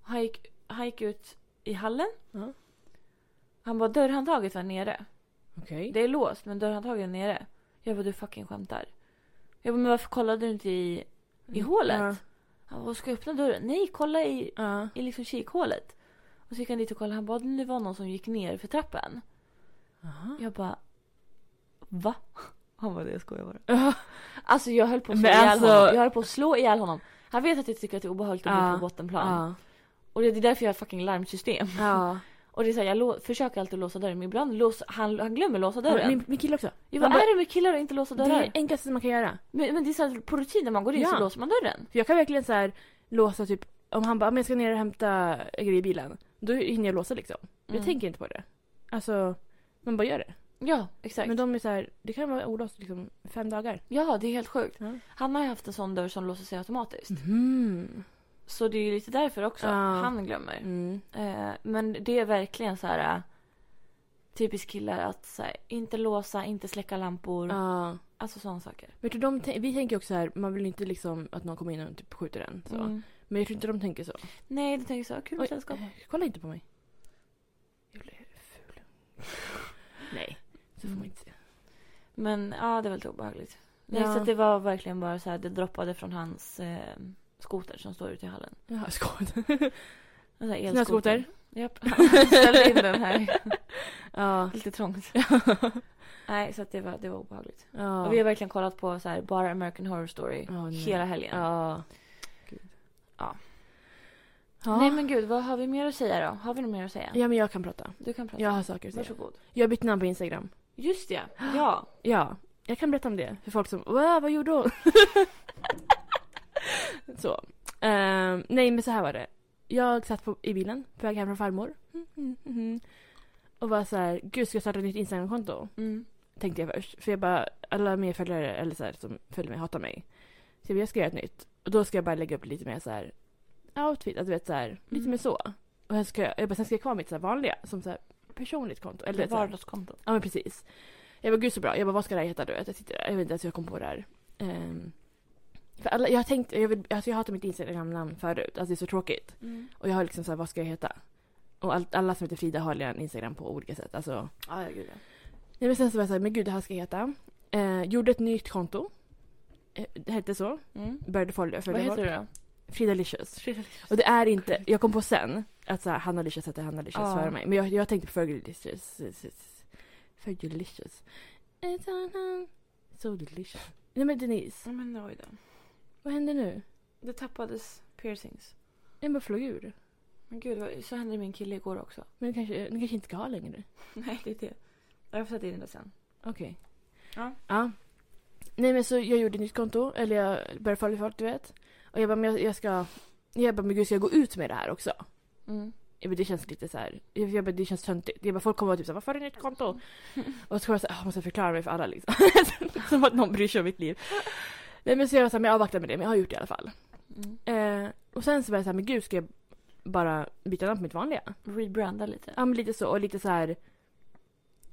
S1: Och Han gick, han gick ut i hallen.
S2: Ja.
S1: Han bara, dörrhandtaget var nere.
S2: Okej.
S1: Det är låst, men dörrhandtaget är nere. Jag bara, du fucking skämtar. Jag bara, men varför kollade du inte i, i hålet?
S2: Mm, Ja.
S1: Han bara, ska jag öppna dörren? Nej, kolla i,
S2: Ja.
S1: i liksom kikhålet. Och så gick han dit och kollade. Han bara, det var någon som gick ner för trappen.
S2: Aha.
S1: Jag bara, va? Han bara, det skojar bara.
S2: Ja.
S1: Alltså jag höll på att slå
S2: Men
S1: ihjäl
S2: alltså-
S1: honom. Jag höll på att slå ihjäl honom. Han vet att jag tycker att det är obehagligt att
S2: Ja.
S1: bo på bottenplan.
S2: Ja.
S1: Och det är därför jag har fucking larmsystem.
S2: ja.
S1: Och det är så här, jag lå- försöker alltid låsa dörren men ibland lås- han, han glömmer låsa dörren.
S2: Min, min kille också.
S1: jag bara,
S2: han bara-
S1: är det med killar att inte låsa
S2: Det är
S1: dörrar?
S2: det enklaste man kan göra.
S1: Men, men det är så här, på rutin när man går in så
S2: Ja.
S1: låser man dörren.
S2: För jag kan verkligen så här låsa typ om han bara "Men jag ska ner och hämta grejer i bilen. Då hinner jag låsa liksom. Jag
S1: Mm.
S2: tänker inte på det. Alltså man bara gör det.
S1: Ja, exakt.
S2: Men de är så här, det kan vara olåst liksom fem dagar.
S1: Ja, det är helt sjukt.
S2: Ja.
S1: Han har ju haft en sån dörr som låser sig automatiskt.
S2: Mm.
S1: Så det är ju lite därför också.
S2: Ja.
S1: Han glömmer.
S2: Mm.
S1: Eh, men det är verkligen så här eh, typiskt killar att så här, inte låsa, inte släcka lampor.
S2: Ja.
S1: Alltså sådana saker.
S2: Vet du, de tän- vi tänker också så här, man vill inte liksom att någon kommer in och typ skjuter en. Så.
S1: Mm.
S2: Men jag tror inte de tänker så.
S1: Nej, du tänker så. Kul med
S2: Oj,
S1: sällskap.
S2: eh, kolla inte på mig. Jag blir ful. Nej, så får man inte se.
S1: Men ja, det är väldigt obehagligt. Nej,
S2: Ja.
S1: så att det var verkligen bara så här, det droppade från hans eh, skoter som står ute i hallen.
S2: Jaha, skål.
S1: En sån här
S2: Snöskoter?
S1: elskoter. Japp. Han ställde in den här.
S2: Ja.
S1: Lite trångt. Nej, så att det var, det var obehagligt.
S2: ja.
S1: Och vi har verkligen kollat på så här, bara American Horror Story
S2: Ja, nej.
S1: hela helgen.
S2: Ja.
S1: Ja.
S2: Ja.
S1: Nej men gud, vad har vi mer att säga då? Har vi något mer att säga?
S2: ja, men jag kan prata.
S1: Du kan prata.
S2: Jag har saker att säga.
S1: Varsågod.
S2: Jag har bytt namn på Instagram.
S1: Just det, ja.
S2: Ja, jag kan berätta om det. För folk som wow, vad gjorde hon? så. Ehm, nej, men så här var det. Jag satt på, i bilen på väg hem från farmor. Mm, mm, mm. Och var så här, gud ska jag starta ett nytt Instagramkonto?
S1: Mm.
S2: Tänkte jag först. För jag bara, alla mina följare eller så här, som följer mig hatar mig. Så jag bara, jag ska göra ett nytt. Och då ska jag bara lägga upp lite mer så här outfit, att du vet så här, lite
S1: Mm.
S2: mer så. Och sen ska jag, jag bara, sen ska jag ha kvar mitt så här vanliga, som så här personligt konto. Eller du vet, så här,
S1: Vardagskontot.
S2: Ja men precis. Jag var gud så bra. Jag bara vad ska det här heta du vet? Jag, sitter, där. jag vet inte ens hur jag kom på det här. Ehm, för alla, jag har tänkt, jag, vill, alltså jag hatar mitt Instagram-namn förut. Alltså det är så tråkigt.
S1: Mm.
S2: Och jag har liksom så här, vad ska jag heta? Och allt, alla som heter Frida har en Instagram på olika sätt. Alltså.
S1: Ja, ja, gud ja.
S2: Nej, men sen så var jag såhär, men gud det här ska jag heta. Eh, gjorde ett nytt konto. Eh, det hette så.
S1: Mm.
S2: Började följa,
S1: Vad
S2: följa
S1: heter
S2: folk.
S1: du då?
S2: Frida Licious. Och det är inte, jag kom på sen att så här, Hanna Licious hette Hanna Licious
S1: Ja.
S2: före mig. Men jag, jag tänkte på Fergie Licious. Fergie Licious. It's on her, So delicious. Nej men Denise,
S1: Ja, men oj då.
S2: vad händer nu?
S1: Det tappades piercings.
S2: Den bara flög ur.
S1: Men gud, vad- så hände min kille igår också.
S2: Men den kanske, den kanske inte ska ha längre.
S1: Nej, det är det. Jag får sätta in det sen.
S2: Okej.
S1: Ja.
S2: Ja. Nej men så jag gjorde ett nytt konto, eller jag började följa folk du vet. Och jag bara, men jag, jag ska... Jag bara, men gud ska jag gå ut med det här också?
S1: Mm.
S2: Jag bara, det känns lite så här. Jag, jag bara, det känns töntigt. Jag bara, folk kommer vara typ så här, varför har du nytt konto? Och så kommer jag så här, "Ah, jag måste förklara mig för alla liksom. Som att någon bryr sig om mitt liv. Nej men så jag var så här, men jag avvaktar med det, men jag har gjort det i alla fall.
S1: Mm.
S2: Eh, och sen så var jag så här, men gud ska jag bara byta namn på mitt vanliga?
S1: Rebranda lite.
S2: Ja men lite så, och lite så här.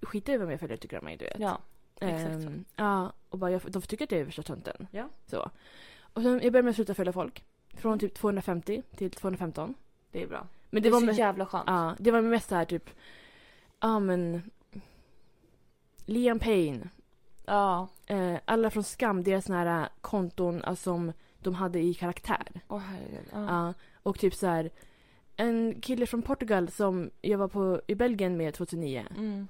S2: Skita i vem jag följer tycker om mig du vet.
S1: Ja. Exakt
S2: Exakt
S1: så.
S2: Ja, och bara, jag, de tycker att jag är värsta tönten.
S1: Ja.
S2: Så. Och sen, jag började med att sluta följa folk. Från typ 250 till 215.
S1: Det är bra.
S2: Men
S1: Det,
S2: det, var
S1: är så
S2: mest,
S1: jävla skönt.
S2: ja, det var mest så här typ, ja men, Liam Payne,
S1: Ja.
S2: eh, alla från Skam, deras såna här konton alltså, som de hade i karaktär.
S1: Åh herregud. Ja.
S2: Ja, och typ så här, en kille från Portugal som jag var på i Belgien med 2009.
S1: Mm.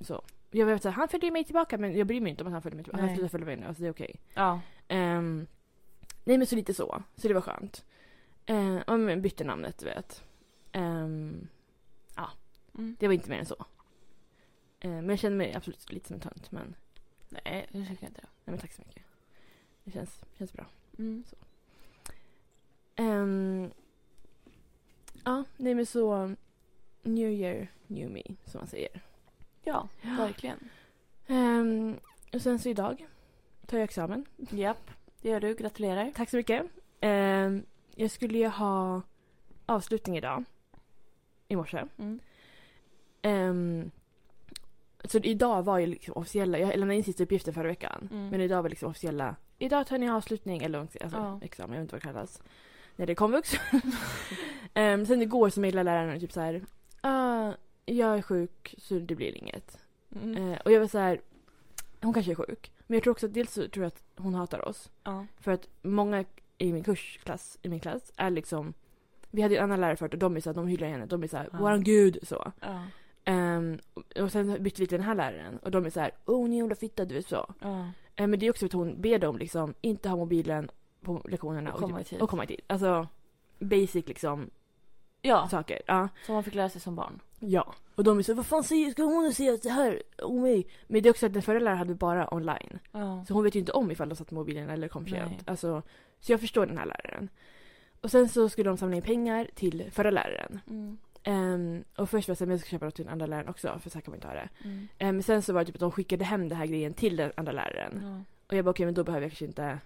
S2: Så. Jag var så här, han följde mig tillbaka men jag bryr mig inte om att han följde mig tillbaka. Han
S1: Nej.
S2: slutade följa mig nu, alltså det är okej.
S1: ja.
S2: Ehm, nej men så lite så. Så det var skönt. Uh, ja men bytte namnet du vet. Ehm,
S1: Mm.
S2: det var inte mer än så. Ehm, men jag känner mig absolut lite som en tönt. Men, nej,
S1: Nej, nu tycker jag inte det.
S2: men tack så mycket. Det känns, känns bra.
S1: Mm.
S2: Ehm, ja, nej men så. New year, new me som man säger.
S1: Ja, verkligen.
S2: Ehm, och sen så idag tar jag examen.
S1: Japp. Det gör du. Gratulerar.
S2: Tack så mycket. Ehm, jag skulle ju ha avslutning idag. I morse.
S1: Mm.
S2: Ehm, så idag var ju liksom officiella, jag lämnade in sista uppgiften förra veckan.
S1: Mm.
S2: Men idag var liksom officiella, idag tar ni avslutning eller alltså,
S1: Ja.
S2: examen, jag vet inte vad det kallas. När det är komvux. um, sen igår så mejlade läraren och typ så här. "Ah, jag är sjuk så det blir inget.
S1: Mm.
S2: Eh, och jag var så här. hon kanske är sjuk. Men jag tror också att dels så tror jag att hon hatar oss.
S1: Ja.
S2: För att många i min kursklass, i min klass, är liksom Vi hade ju en annan lärare förut och de är såhär, de hyllar henne, de är såhär
S1: Ja.
S2: våran gud så.
S1: Ja.
S2: Ehm, och- och sen bytte vi till den här läraren och de är såhär, åh oh, ni jävla fitta du vet så.
S1: Ja.
S2: Eh, men det är också för att hon ber dem liksom inte ha mobilen på lektionerna
S1: Och komma i tid.
S2: och komma i tid. Alltså basic liksom
S1: ja.
S2: saker. Ja.
S1: Som man fick lära sig som barn.
S2: ja. Och de är så vad fan säger, ska hon säga så här om mig? Men det är också att den förra läraren hade bara online.
S1: Ja.
S2: Så hon vet ju inte om ifall de satt mobilen eller kom för
S1: Nej.
S2: sent. Alltså, så jag förstår den här läraren. Och sen så skulle de samla in pengar till förra läraren.
S1: Mm.
S2: Ehm, och först var jag såhär, men jag ska köpa något till den andra läraren också för så här kan man inte ha det.
S1: Mm.
S2: Ehm, Men sen så var det typ att de skickade hem den här grejen till den andra läraren.
S1: Ja.
S2: Och jag bara okej men då behöver jag kanske inte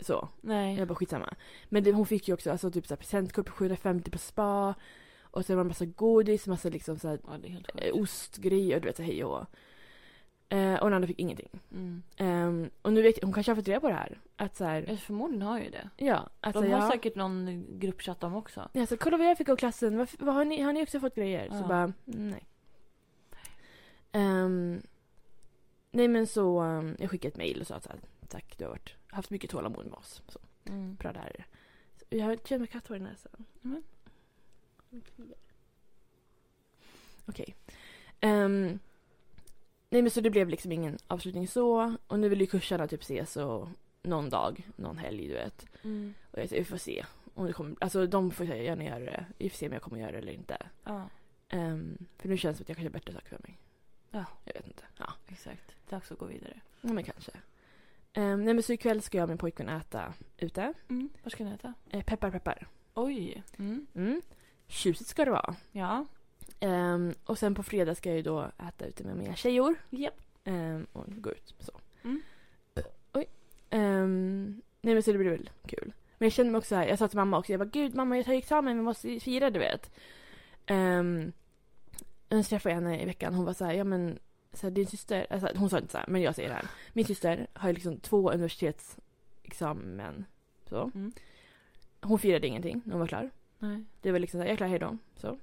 S2: så.
S1: Nej.
S2: Jag bara skitsamma. Men det, hon fick ju också alltså, typ så här, presentkort på 750 på spa. Och sen var det massa godis, massa liksom så här,
S1: Ja, det är helt
S2: eh,
S1: sjukt.
S2: ostgrejer du vet så här, hej och hå. Ehm, Och den andra fick ingenting.
S1: Mm.
S2: Ehm, och nu vet jag, hon kanske har fått reda på det här. Att så här,
S1: Ja, Förmodligen har ju det.
S2: ja, att
S1: De
S2: så här,
S1: har
S2: ja,
S1: säkert någon gruppchatt de också.
S2: ja, så, kolla vad jag fick av klassen, Varför, vad har, ni, har ni också fått grejer? Så
S1: Ja.
S2: bara, nej. Ehm, nej men så, ehm, jag skickade ett mail och sa att så här, tack du har varit, haft mycket tålamod med oss. Så,
S1: Mm.
S2: bra lärare. Så, jag känner mig katthår i näsan.
S1: Mm.
S2: Okej. Ehm, nej men så det blev liksom ingen avslutning så. Och nu vill ju kurserna typ ses och någon dag, någon helg du vet.
S1: Mm.
S2: Och jag säger, vi får se. Om det kommer, alltså de får säga gärna göra det. Vi får se om jag kommer göra det eller inte.
S1: Ja,
S2: Ehm, för nu känns det som att jag kanske har bättre saker för mig.
S1: Ja.
S2: Jag vet inte. Ja,
S1: exakt. Dags att gå vidare.
S2: ja men kanske. Ehm, nej men så ikväll ska jag och min pojkvän äta ute.
S1: Mm. Vad ska ni äta?
S2: Eh, peppar peppar.
S1: Oj. Mm.
S2: Mm. Tjusigt ska det vara.
S1: Ja.
S2: Ehm, och sen på fredag ska jag ju då äta ute med mina tjejor.
S1: Japp.
S2: Ehm, och gå ut så.
S1: Mm.
S2: Oj. Ehm, nej men så det blir väl kul. Men jag känner mig också så här, jag sa till mamma också, jag bara gud mamma jag tar ju examen, vi måste ju fira du vet. Um, sen träffade jag henne i veckan, hon var så här, ja men så här, din syster, alltså, hon sa inte så här, men jag säger det här. Min syster har ju liksom två universitetsexamen. Så.
S1: Mm.
S2: Hon firade ingenting när hon var klar.
S1: Nej.
S2: Det var liksom såhär, jag klarar hejdå. Så.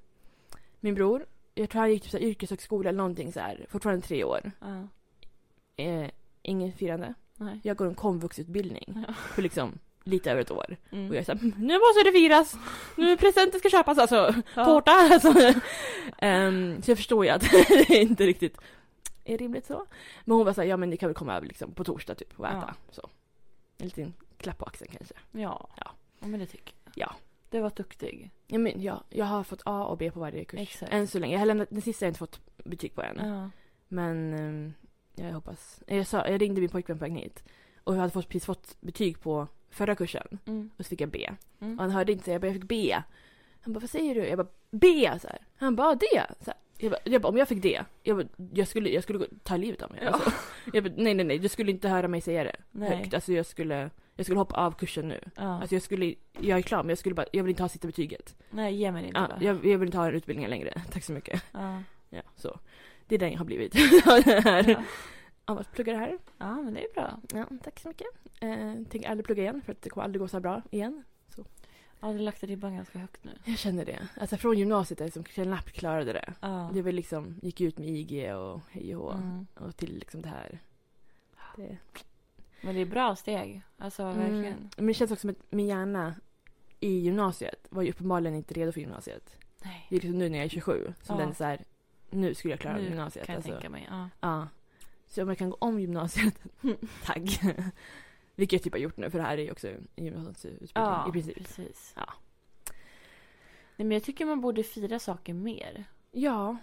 S2: Min bror, jag tror han gick typ såhär, yrkeshögskola eller någonting såhär, fortfarande tre år.
S1: Ja.
S2: Eh, ingen firande.
S1: Nej.
S2: Jag går en komvuxutbildning
S1: Ja.
S2: för liksom lite över ett år. Och
S1: Mm.
S2: jag såhär, nu måste det firas! Nu presenter ska köpas alltså!
S1: Ja.
S2: Tårta! Alltså. Ehm, så jag förstår ju att det är inte riktigt är rimligt så. Men hon var såhär, ja men ni kan väl komma över liksom på torsdag typ och äta.
S1: Ja.
S2: Så. En liten klapp på axeln kanske.
S1: Ja.
S2: Ja.
S1: ja, men det tycker jag.
S2: Ja.
S1: Du var duktig.
S2: Ja, men, ja, jag har fått A och B på varje kurs.
S1: Exakt.
S2: Mm. Än så länge. Jag har lämnat, den sista har jag inte fått betyg på än.
S1: Ja.
S2: Men ehm, Jag hoppas. Jag, sa, jag ringde min pojkvän på vägen hit. Och jag hade fått, precis fått betyg på förra kursen.
S1: Mm.
S2: Och så fick jag B. Och
S1: Mm.
S2: han hörde inte så jag bara, jag fick B. Han bara, vad säger du? Jag bara, B! Så här. Han bara, det! Så här. Jag, bara, jag bara, om jag fick det. Jag, bara, jag, skulle, jag skulle gå- ta livet av mig.
S1: Ja.
S2: Alltså. Jag bara, nej, nej, nej. Du skulle inte höra mig säga det
S1: Nej.
S2: högt. Alltså, jag, skulle, jag skulle hoppa av kursen nu.
S1: Ja.
S2: Alltså, jag, skulle, jag är klar, men jag, skulle bara, jag vill inte ha sista betyget.
S1: Nej, ge mig det inte
S2: Ja,
S1: bara.
S2: jag, jag vill inte ha den utbildningen längre. Tack så mycket.
S1: Ja.
S2: Ja, så. Det är den jag har blivit. Det här.
S1: Ja.
S2: Ja, vad pluggar det här?
S1: ja, men det är bra.
S2: Ja, tack så mycket. Eh, tänker aldrig plugga igen för att det kommer aldrig gå så här bra igen.
S1: Ja, du har lagt ribban ganska högt nu.
S2: Jag känner det. Alltså från gymnasiet är det som knappt klarade det.
S1: Ja.
S2: Det var liksom, gick ut med IG och hej och hå.
S1: Mm.
S2: Och till liksom det här. Det,
S1: Men det är bra steg. Alltså,
S2: Mm.
S1: verkligen.
S2: Men det känns också som att min hjärna i gymnasiet var ju uppenbarligen inte redo för gymnasiet.
S1: Nej,
S2: Det är liksom nu när jag är 27 som
S1: Ja.
S2: den är så här, nu skulle jag klara
S1: Nu
S2: gymnasiet.
S1: kan jag
S2: alltså.
S1: tänka mig. Ja.
S2: Ja. Så om jag kan gå om gymnasiet, tack. Vilket jag typ har gjort nu för det här är ju också en gymnasieutbildning i princip.
S1: precis.
S2: Ja.
S1: Nej, men jag tycker man borde fira saker mer.
S2: Ja,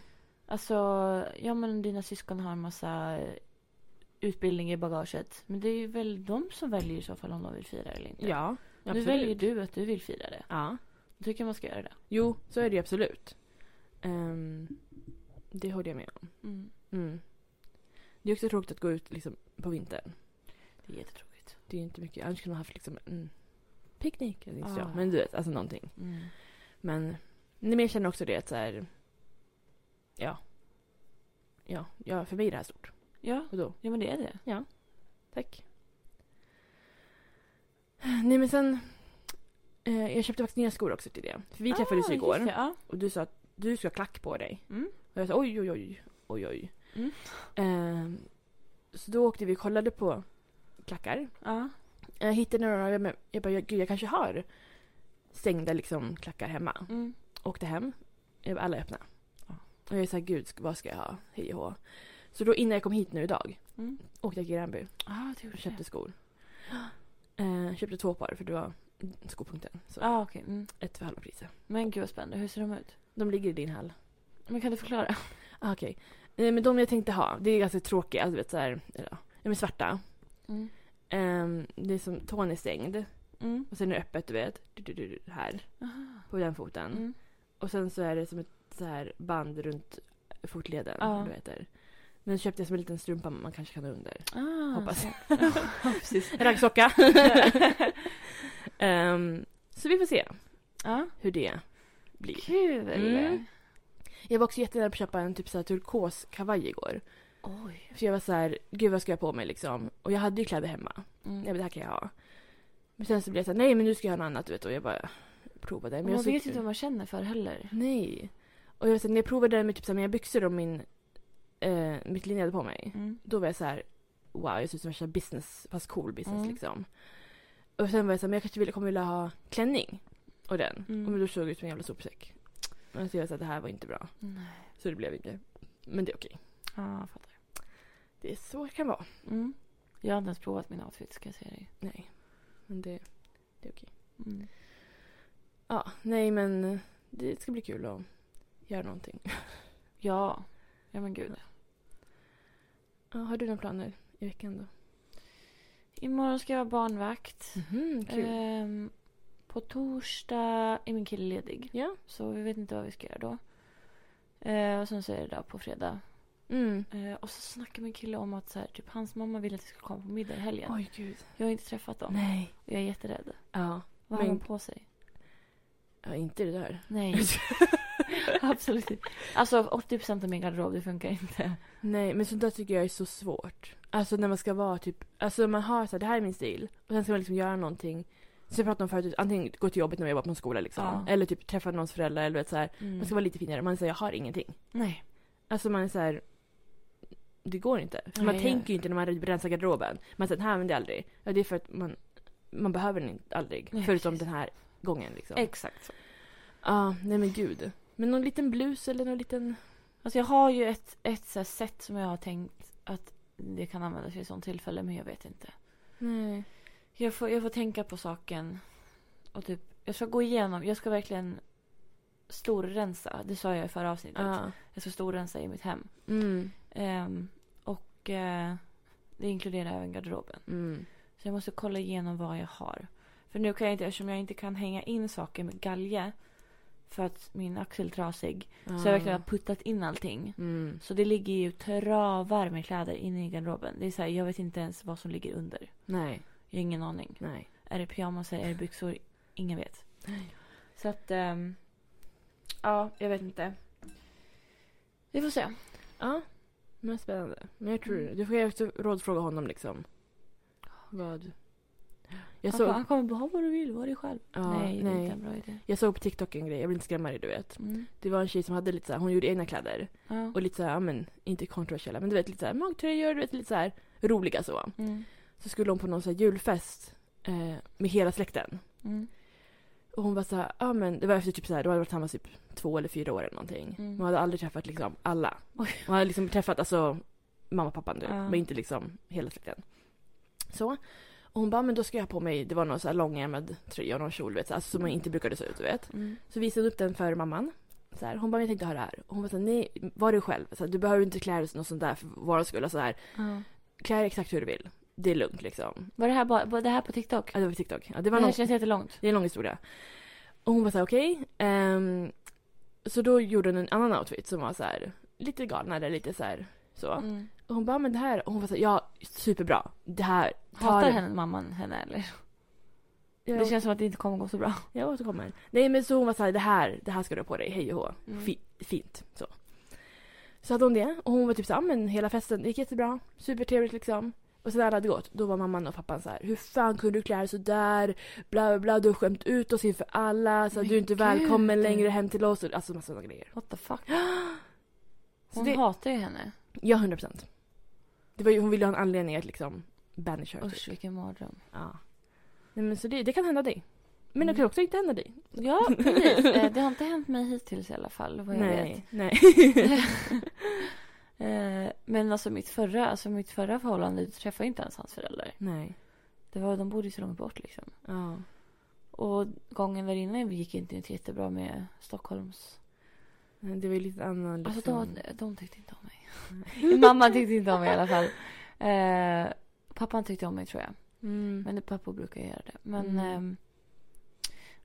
S1: Alltså, ja men dina syskon har en massa eh, utbildning i bagaget. Men det är ju väl de som väljer i så fall om de vill fira eller inte.
S2: ja.
S1: nu väljer du att du vill fira det.
S2: Ja.
S1: Då tycker jag man ska göra det.
S2: Jo, så är det ju absolut. Ehm, det håller jag med om.
S1: Mm.
S2: Mm. Det är också tråkigt att gå ut liksom, på vintern.
S1: Det är jättetråkigt.
S2: Det är ju inte mycket. Annars kunde man haft liksom, en picknick. Eller inte så
S1: Ah.
S2: jag. Men du vet, alltså någonting.
S1: Mm.
S2: Men, nej, men jag känner också det att så här, ja. ja. Ja, för mig är det här stort.
S1: Ja,
S2: Och då,
S1: ja, men det är det.
S2: tack. Nej men sen, eh, jag köpte faktiskt nya skor också till det. För vi träffades ju
S1: Ah,
S2: igår
S1: just det, Ja.
S2: och du sa att du ska ha klack på dig.
S1: Mm.
S2: Och jag sa oj, oj, oj, oj, oj.
S1: Mm.
S2: Ehm, så då åkte vi och kollade på klackar.
S1: Ja.
S2: Jag hittade några, jag, men- jag bara, jag- gud jag kanske har stängda liksom klackar hemma.
S1: Mm.
S2: Åkte hem, jag bara, alla är öppna.
S1: Ja.
S2: Och jag sa gud, sk- vad ska jag ha? Hej och hå. Så då innan jag kom hit nu idag
S1: Mm.
S2: åkte jag till Gränby
S1: Ah, det
S2: och
S1: gjorde
S2: köpte
S1: det.
S2: skor. Eh, köpte två par för det var skopunkten. Så
S1: Ah, okej. Mm.
S2: ett för halva priset.
S1: Men gud vad spännande. Hur ser de ut?
S2: De ligger i din hall.
S1: Men kan du förklara?
S2: Ah, Okej. Eh, men de jag tänkte ha, det är ganska tråkiga, alltså, vet, så här, eller, ja, de är svarta.
S1: Mm.
S2: Ehm, det är som tån är stängd
S1: Mm.
S2: och sen är det öppet, du vet. Du, du, du, du, här,
S1: Aha.
S2: på den foten.
S1: Mm.
S2: Och sen så är det som ett så här band runt fotleden.
S1: Ja.
S2: eller vad det heter. Men så köpte jag som en liten strumpa man kanske kan ha under.
S1: Ah,
S2: Hoppas.
S1: så. Ja, precis.
S2: Raggsocka! Ehm, så vi får se
S1: Ja.
S2: hur det blir.
S1: Kul!
S2: Mm. Jag var också jättenära på att köpa en typ så här turkos kavaj igår.
S1: Oj.
S2: För jag var så här, gud vad ska jag ha på mig liksom? Och jag hade ju kläder hemma.
S1: Mm.
S2: Nej men det här kan jag ha. Men sen så blev jag såhär, nej men nu ska jag ha något annat du vet. Och jag bara provade.
S1: Och
S2: Men
S1: man
S2: jag såg-
S1: vet inte vad man känner för heller.
S2: Nej. Och jag var såhär, när jag provade den med typ såhär, mina byxor och min, eh, mitt linne jag hade på mig.
S1: Mm.
S2: Då var jag så här: wow jag ser ut som värsta business, fast cool business
S1: Mm.
S2: liksom. Och sen var jag såhär, men jag kanske vill, kommer vilja ha klänning. Och den.
S1: Mm.
S2: Och men då såg jag ut som en jävla sopsäck. Men så jag såhär, det här var inte bra.
S1: Nej.
S2: Så det blev inte. Men det är okej.
S1: Ja, jag fattar.
S2: Det är så det kan vara.
S1: Mm. Jag har inte ens provat min outfit ska jag säga dig.
S2: Nej. Men det, det är okej.
S1: Mm.
S2: Ja, nej men eh, det ska bli kul att göra någonting.
S1: Ja. Ja men gud.
S2: Ja, har du några planer i veckan då?
S1: Imorgon ska jag vara barnvakt.
S2: Mhm, kul.
S1: Ehm, på torsdag är min kille ledig.
S2: ja.
S1: Så vi vet inte vad vi ska göra då. Eh, och sen så är det idag på fredag.
S2: Mm.
S1: Eh, och så snackar min kille om att så här, typ, hans mamma vill att vi ska komma på middag i helgen.
S2: Oj gud.
S1: Jag har inte träffat dem.
S2: Nej.
S1: Och jag är jätterädd.
S2: Ja.
S1: Vad
S2: Men-
S1: har han på sig?
S2: ja, inte det där.
S1: Nej. Absolut inte. Alltså 80% av min garderob, det funkar inte.
S2: Nej, men sånt där tycker jag är så svårt. Alltså när man ska vara typ, alltså man har så här, det här är min stil. Och sen ska man liksom göra någonting. Som jag pratade om förut, antingen gå till jobbet när man jobbar på en skola liksom.
S1: Ja.
S2: Eller typ träffa någons föräldrar eller vet, så här.
S1: Mm.
S2: Man ska vara lite finare. Man säger jag har ingenting.
S1: Nej.
S2: Alltså man är så här. Det går inte. För man
S1: Nej,
S2: tänker ju inte när man rensar garderoben. Man säger den här använder jag aldrig. Ja, det är för att man, man behöver den inte aldrig.
S1: Nej,
S2: förutom
S1: precis.
S2: den här gången liksom. Ja,
S1: Exakt så.
S2: ah, nej men gud. Men någon liten blus eller någon liten...
S1: Alltså jag har ju ett, ett så här sätt som jag har tänkt att det kan användas vid sånt tillfälle, men jag vet inte.
S2: Nej.
S1: Jag får, jag får tänka på saken. Och typ, jag ska gå igenom, jag ska verkligen storrensa. Det sa jag i förra avsnittet.
S2: Ja.
S1: Jag ska storrensa i mitt hem.
S2: Mm.
S1: Ehm, och Och eh, det inkluderar även garderoben.
S2: Mm.
S1: Så jag måste kolla igenom vad jag har. För nu kan jag inte, eftersom jag inte kan hänga in saker med galge. För att min axel är trasig. Så jag verkligen har puttat in allting.
S2: Mm.
S1: Så det ligger ju travar med kläder inne i garderoben. Det är så här, jag vet inte ens vad som ligger under.
S2: Nej,
S1: Jag har ingen aning.
S2: nej.
S1: Är det pyjamasar? Är det byxor? Ingen vet.
S2: Nej.
S1: Så att... ehm, ja, jag vet inte. Vi får se.
S2: Ja, men spännande. Men jag tror
S1: Mm.
S2: Du får ju också rådfråga honom liksom. Vad? Jag
S1: Han,
S2: såg,
S1: han kommer bara ha vad du vill, var dig själv.
S2: ja,
S1: nej,
S2: nej,
S1: det är inte en bra idé.
S2: jag såg på TikTok en grej, jag vill inte skrämma dig du vet.
S1: Mm.
S2: Det var en tjej som hade lite så här, hon gjorde egna kläder.
S1: Ja.
S2: Och lite så här, ja, men inte kontroversiella, men du vet lite så här magtröjor, du vet lite så här roliga så.
S1: Mm.
S2: så skulle hon på någon så här julfest eh, med hela släkten.
S1: Mm.
S2: Och hon var så här, ja men det var efter typ så här, de hade varit tillsammans typ två eller fyra år eller någonting.
S1: Mm.
S2: Man hade aldrig träffat liksom alla.
S1: Oj.
S2: Man hade liksom träffat alltså mamma och pappan du,
S1: Ja.
S2: men inte liksom hela släkten. Så. Och hon bara, men då ska jag ha på mig, det var någon så här långärmad tröja och någon kjol du vet, så här, alltså, som man inte brukade se ut du vet.
S1: Mm.
S2: Så visade hon upp den för mamman. Så här, hon bara, men jag tänkte ha det här. Och hon var så här, nej, var du själv. Så här, du behöver inte klä dig något sånt där för vår skull. Och Så här,
S1: Ja.
S2: klä dig exakt hur du vill. Det är lugnt liksom.
S1: Var det här, bara, var det här på TikTok?
S2: Ja, det var på TikTok. Ja, det,
S1: Det,
S2: var
S1: här
S2: någon,
S1: känns jättelångt.
S2: det är en lång historia. Och hon var så här, okej. ehm, så då gjorde hon en annan outfit som var så här, lite galnare, lite så här. Så.
S1: Mm.
S2: Och hon bara, men det här. Och hon var så här, ja, superbra. Det här. tar-
S1: Hatar henne, mamman henne eller?
S2: Jag,
S1: Det känns som att det inte kommer gå så bra.
S2: jag återkommer. Nej, men så hon var så här, det här, det här ska du ha på dig. Hej och hå.
S1: Mm.
S2: Fi, fint. Så. Så hade hon det. Och hon var typ så här, "Ja, men hela festen det gick jättebra. Supertrevligt liksom. Och sen när alla hade gått, då var mamman och pappan så här, hur fan kunde du klä dig sådär? Bla bla bla, du har skämt ut oss inför alla. Så att
S1: Men
S2: du är inte
S1: gud.
S2: välkommen längre hem till oss. Och- Alltså massa sådana grejer.
S1: What the fuck?
S2: Så
S1: Hon
S2: det,
S1: hatar ju henne.
S2: ja, 100 procent. Hon ville ha en anledning att liksom banish her.
S1: Usch,
S2: Typ.
S1: vilken mardröm.
S2: Ja. Nej, men så det, det kan hända dig. Men det
S1: Mm.
S2: kan också inte hända dig.
S1: Ja, precis. Eh, det har inte hänt mig hittills i alla fall, vad jag vet.
S2: Nej, nej.
S1: Eh, men alltså mitt förra, alltså mitt förra förhållande, du träffade ju inte ens hans föräldrar.
S2: nej.
S1: Det var, de bodde ju så långt bort liksom.
S2: Ja.
S1: Och gången där innan gick inte jättebra med Stockholms...
S2: Nej, Det var ju lite annan
S1: Alltså
S2: liksom. Mm.
S1: de, de tyckte inte om mig. Min mamma tyckte inte om mig i alla fall. Eh, pappan tyckte om mig tror jag.
S2: Mm.
S1: Men pappa brukar göra det. Men...
S2: Mm.
S1: ehm,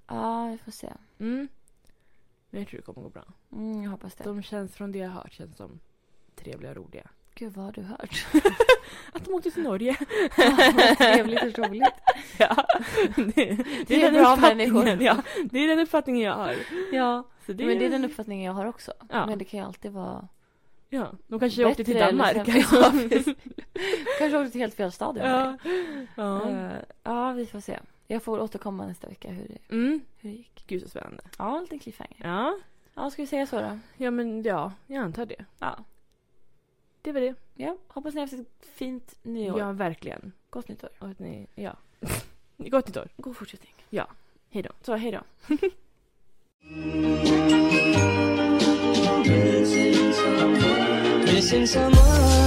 S1: ja, vi får se.
S2: Mm. Men jag tror det kommer gå bra.
S1: Mm, jag hoppas det.
S2: De känns, från det jag har hört, känns som trevliga och roliga.
S1: Gud, vad har du hört?
S2: Att de åkte till Norge.
S1: Vad Trevligt och roligt.
S2: ja. Det,
S1: Det är bra
S2: uppfattningen,
S1: människor.
S2: Ja. Det är den uppfattningen jag har.
S1: Ja,
S2: Så
S1: men det är den uppfattningen jag har också.
S2: Ja.
S1: Men det kan ju alltid vara...
S2: ja. De kanske
S1: Bättre
S2: åkte till
S1: eller
S2: Danmark.
S1: sämre. Ja,
S2: Alltså.
S1: precis. Kanske åkte till helt fel stadion.
S2: ja. ja.
S1: Eh, ja, vi får se. Jag får återkomma nästa vecka hur, det-
S2: Mm.
S1: hur det gick.
S2: Gud så spännande.
S1: Ja, en liten cliffhanger.
S2: Ja.
S1: Ja, ska vi säga så då?
S2: ja, men ja, jag antar det.
S1: Ja.
S2: Det var det.
S1: ja hoppas ni har haft ett fint nyår.
S2: Ja, verkligen.
S1: Gott nytt år.
S2: Och att ni, ja. Gott nytt år.
S1: God fortsättning.
S2: Hej då.
S1: Så, hej då.
S3: Missing someone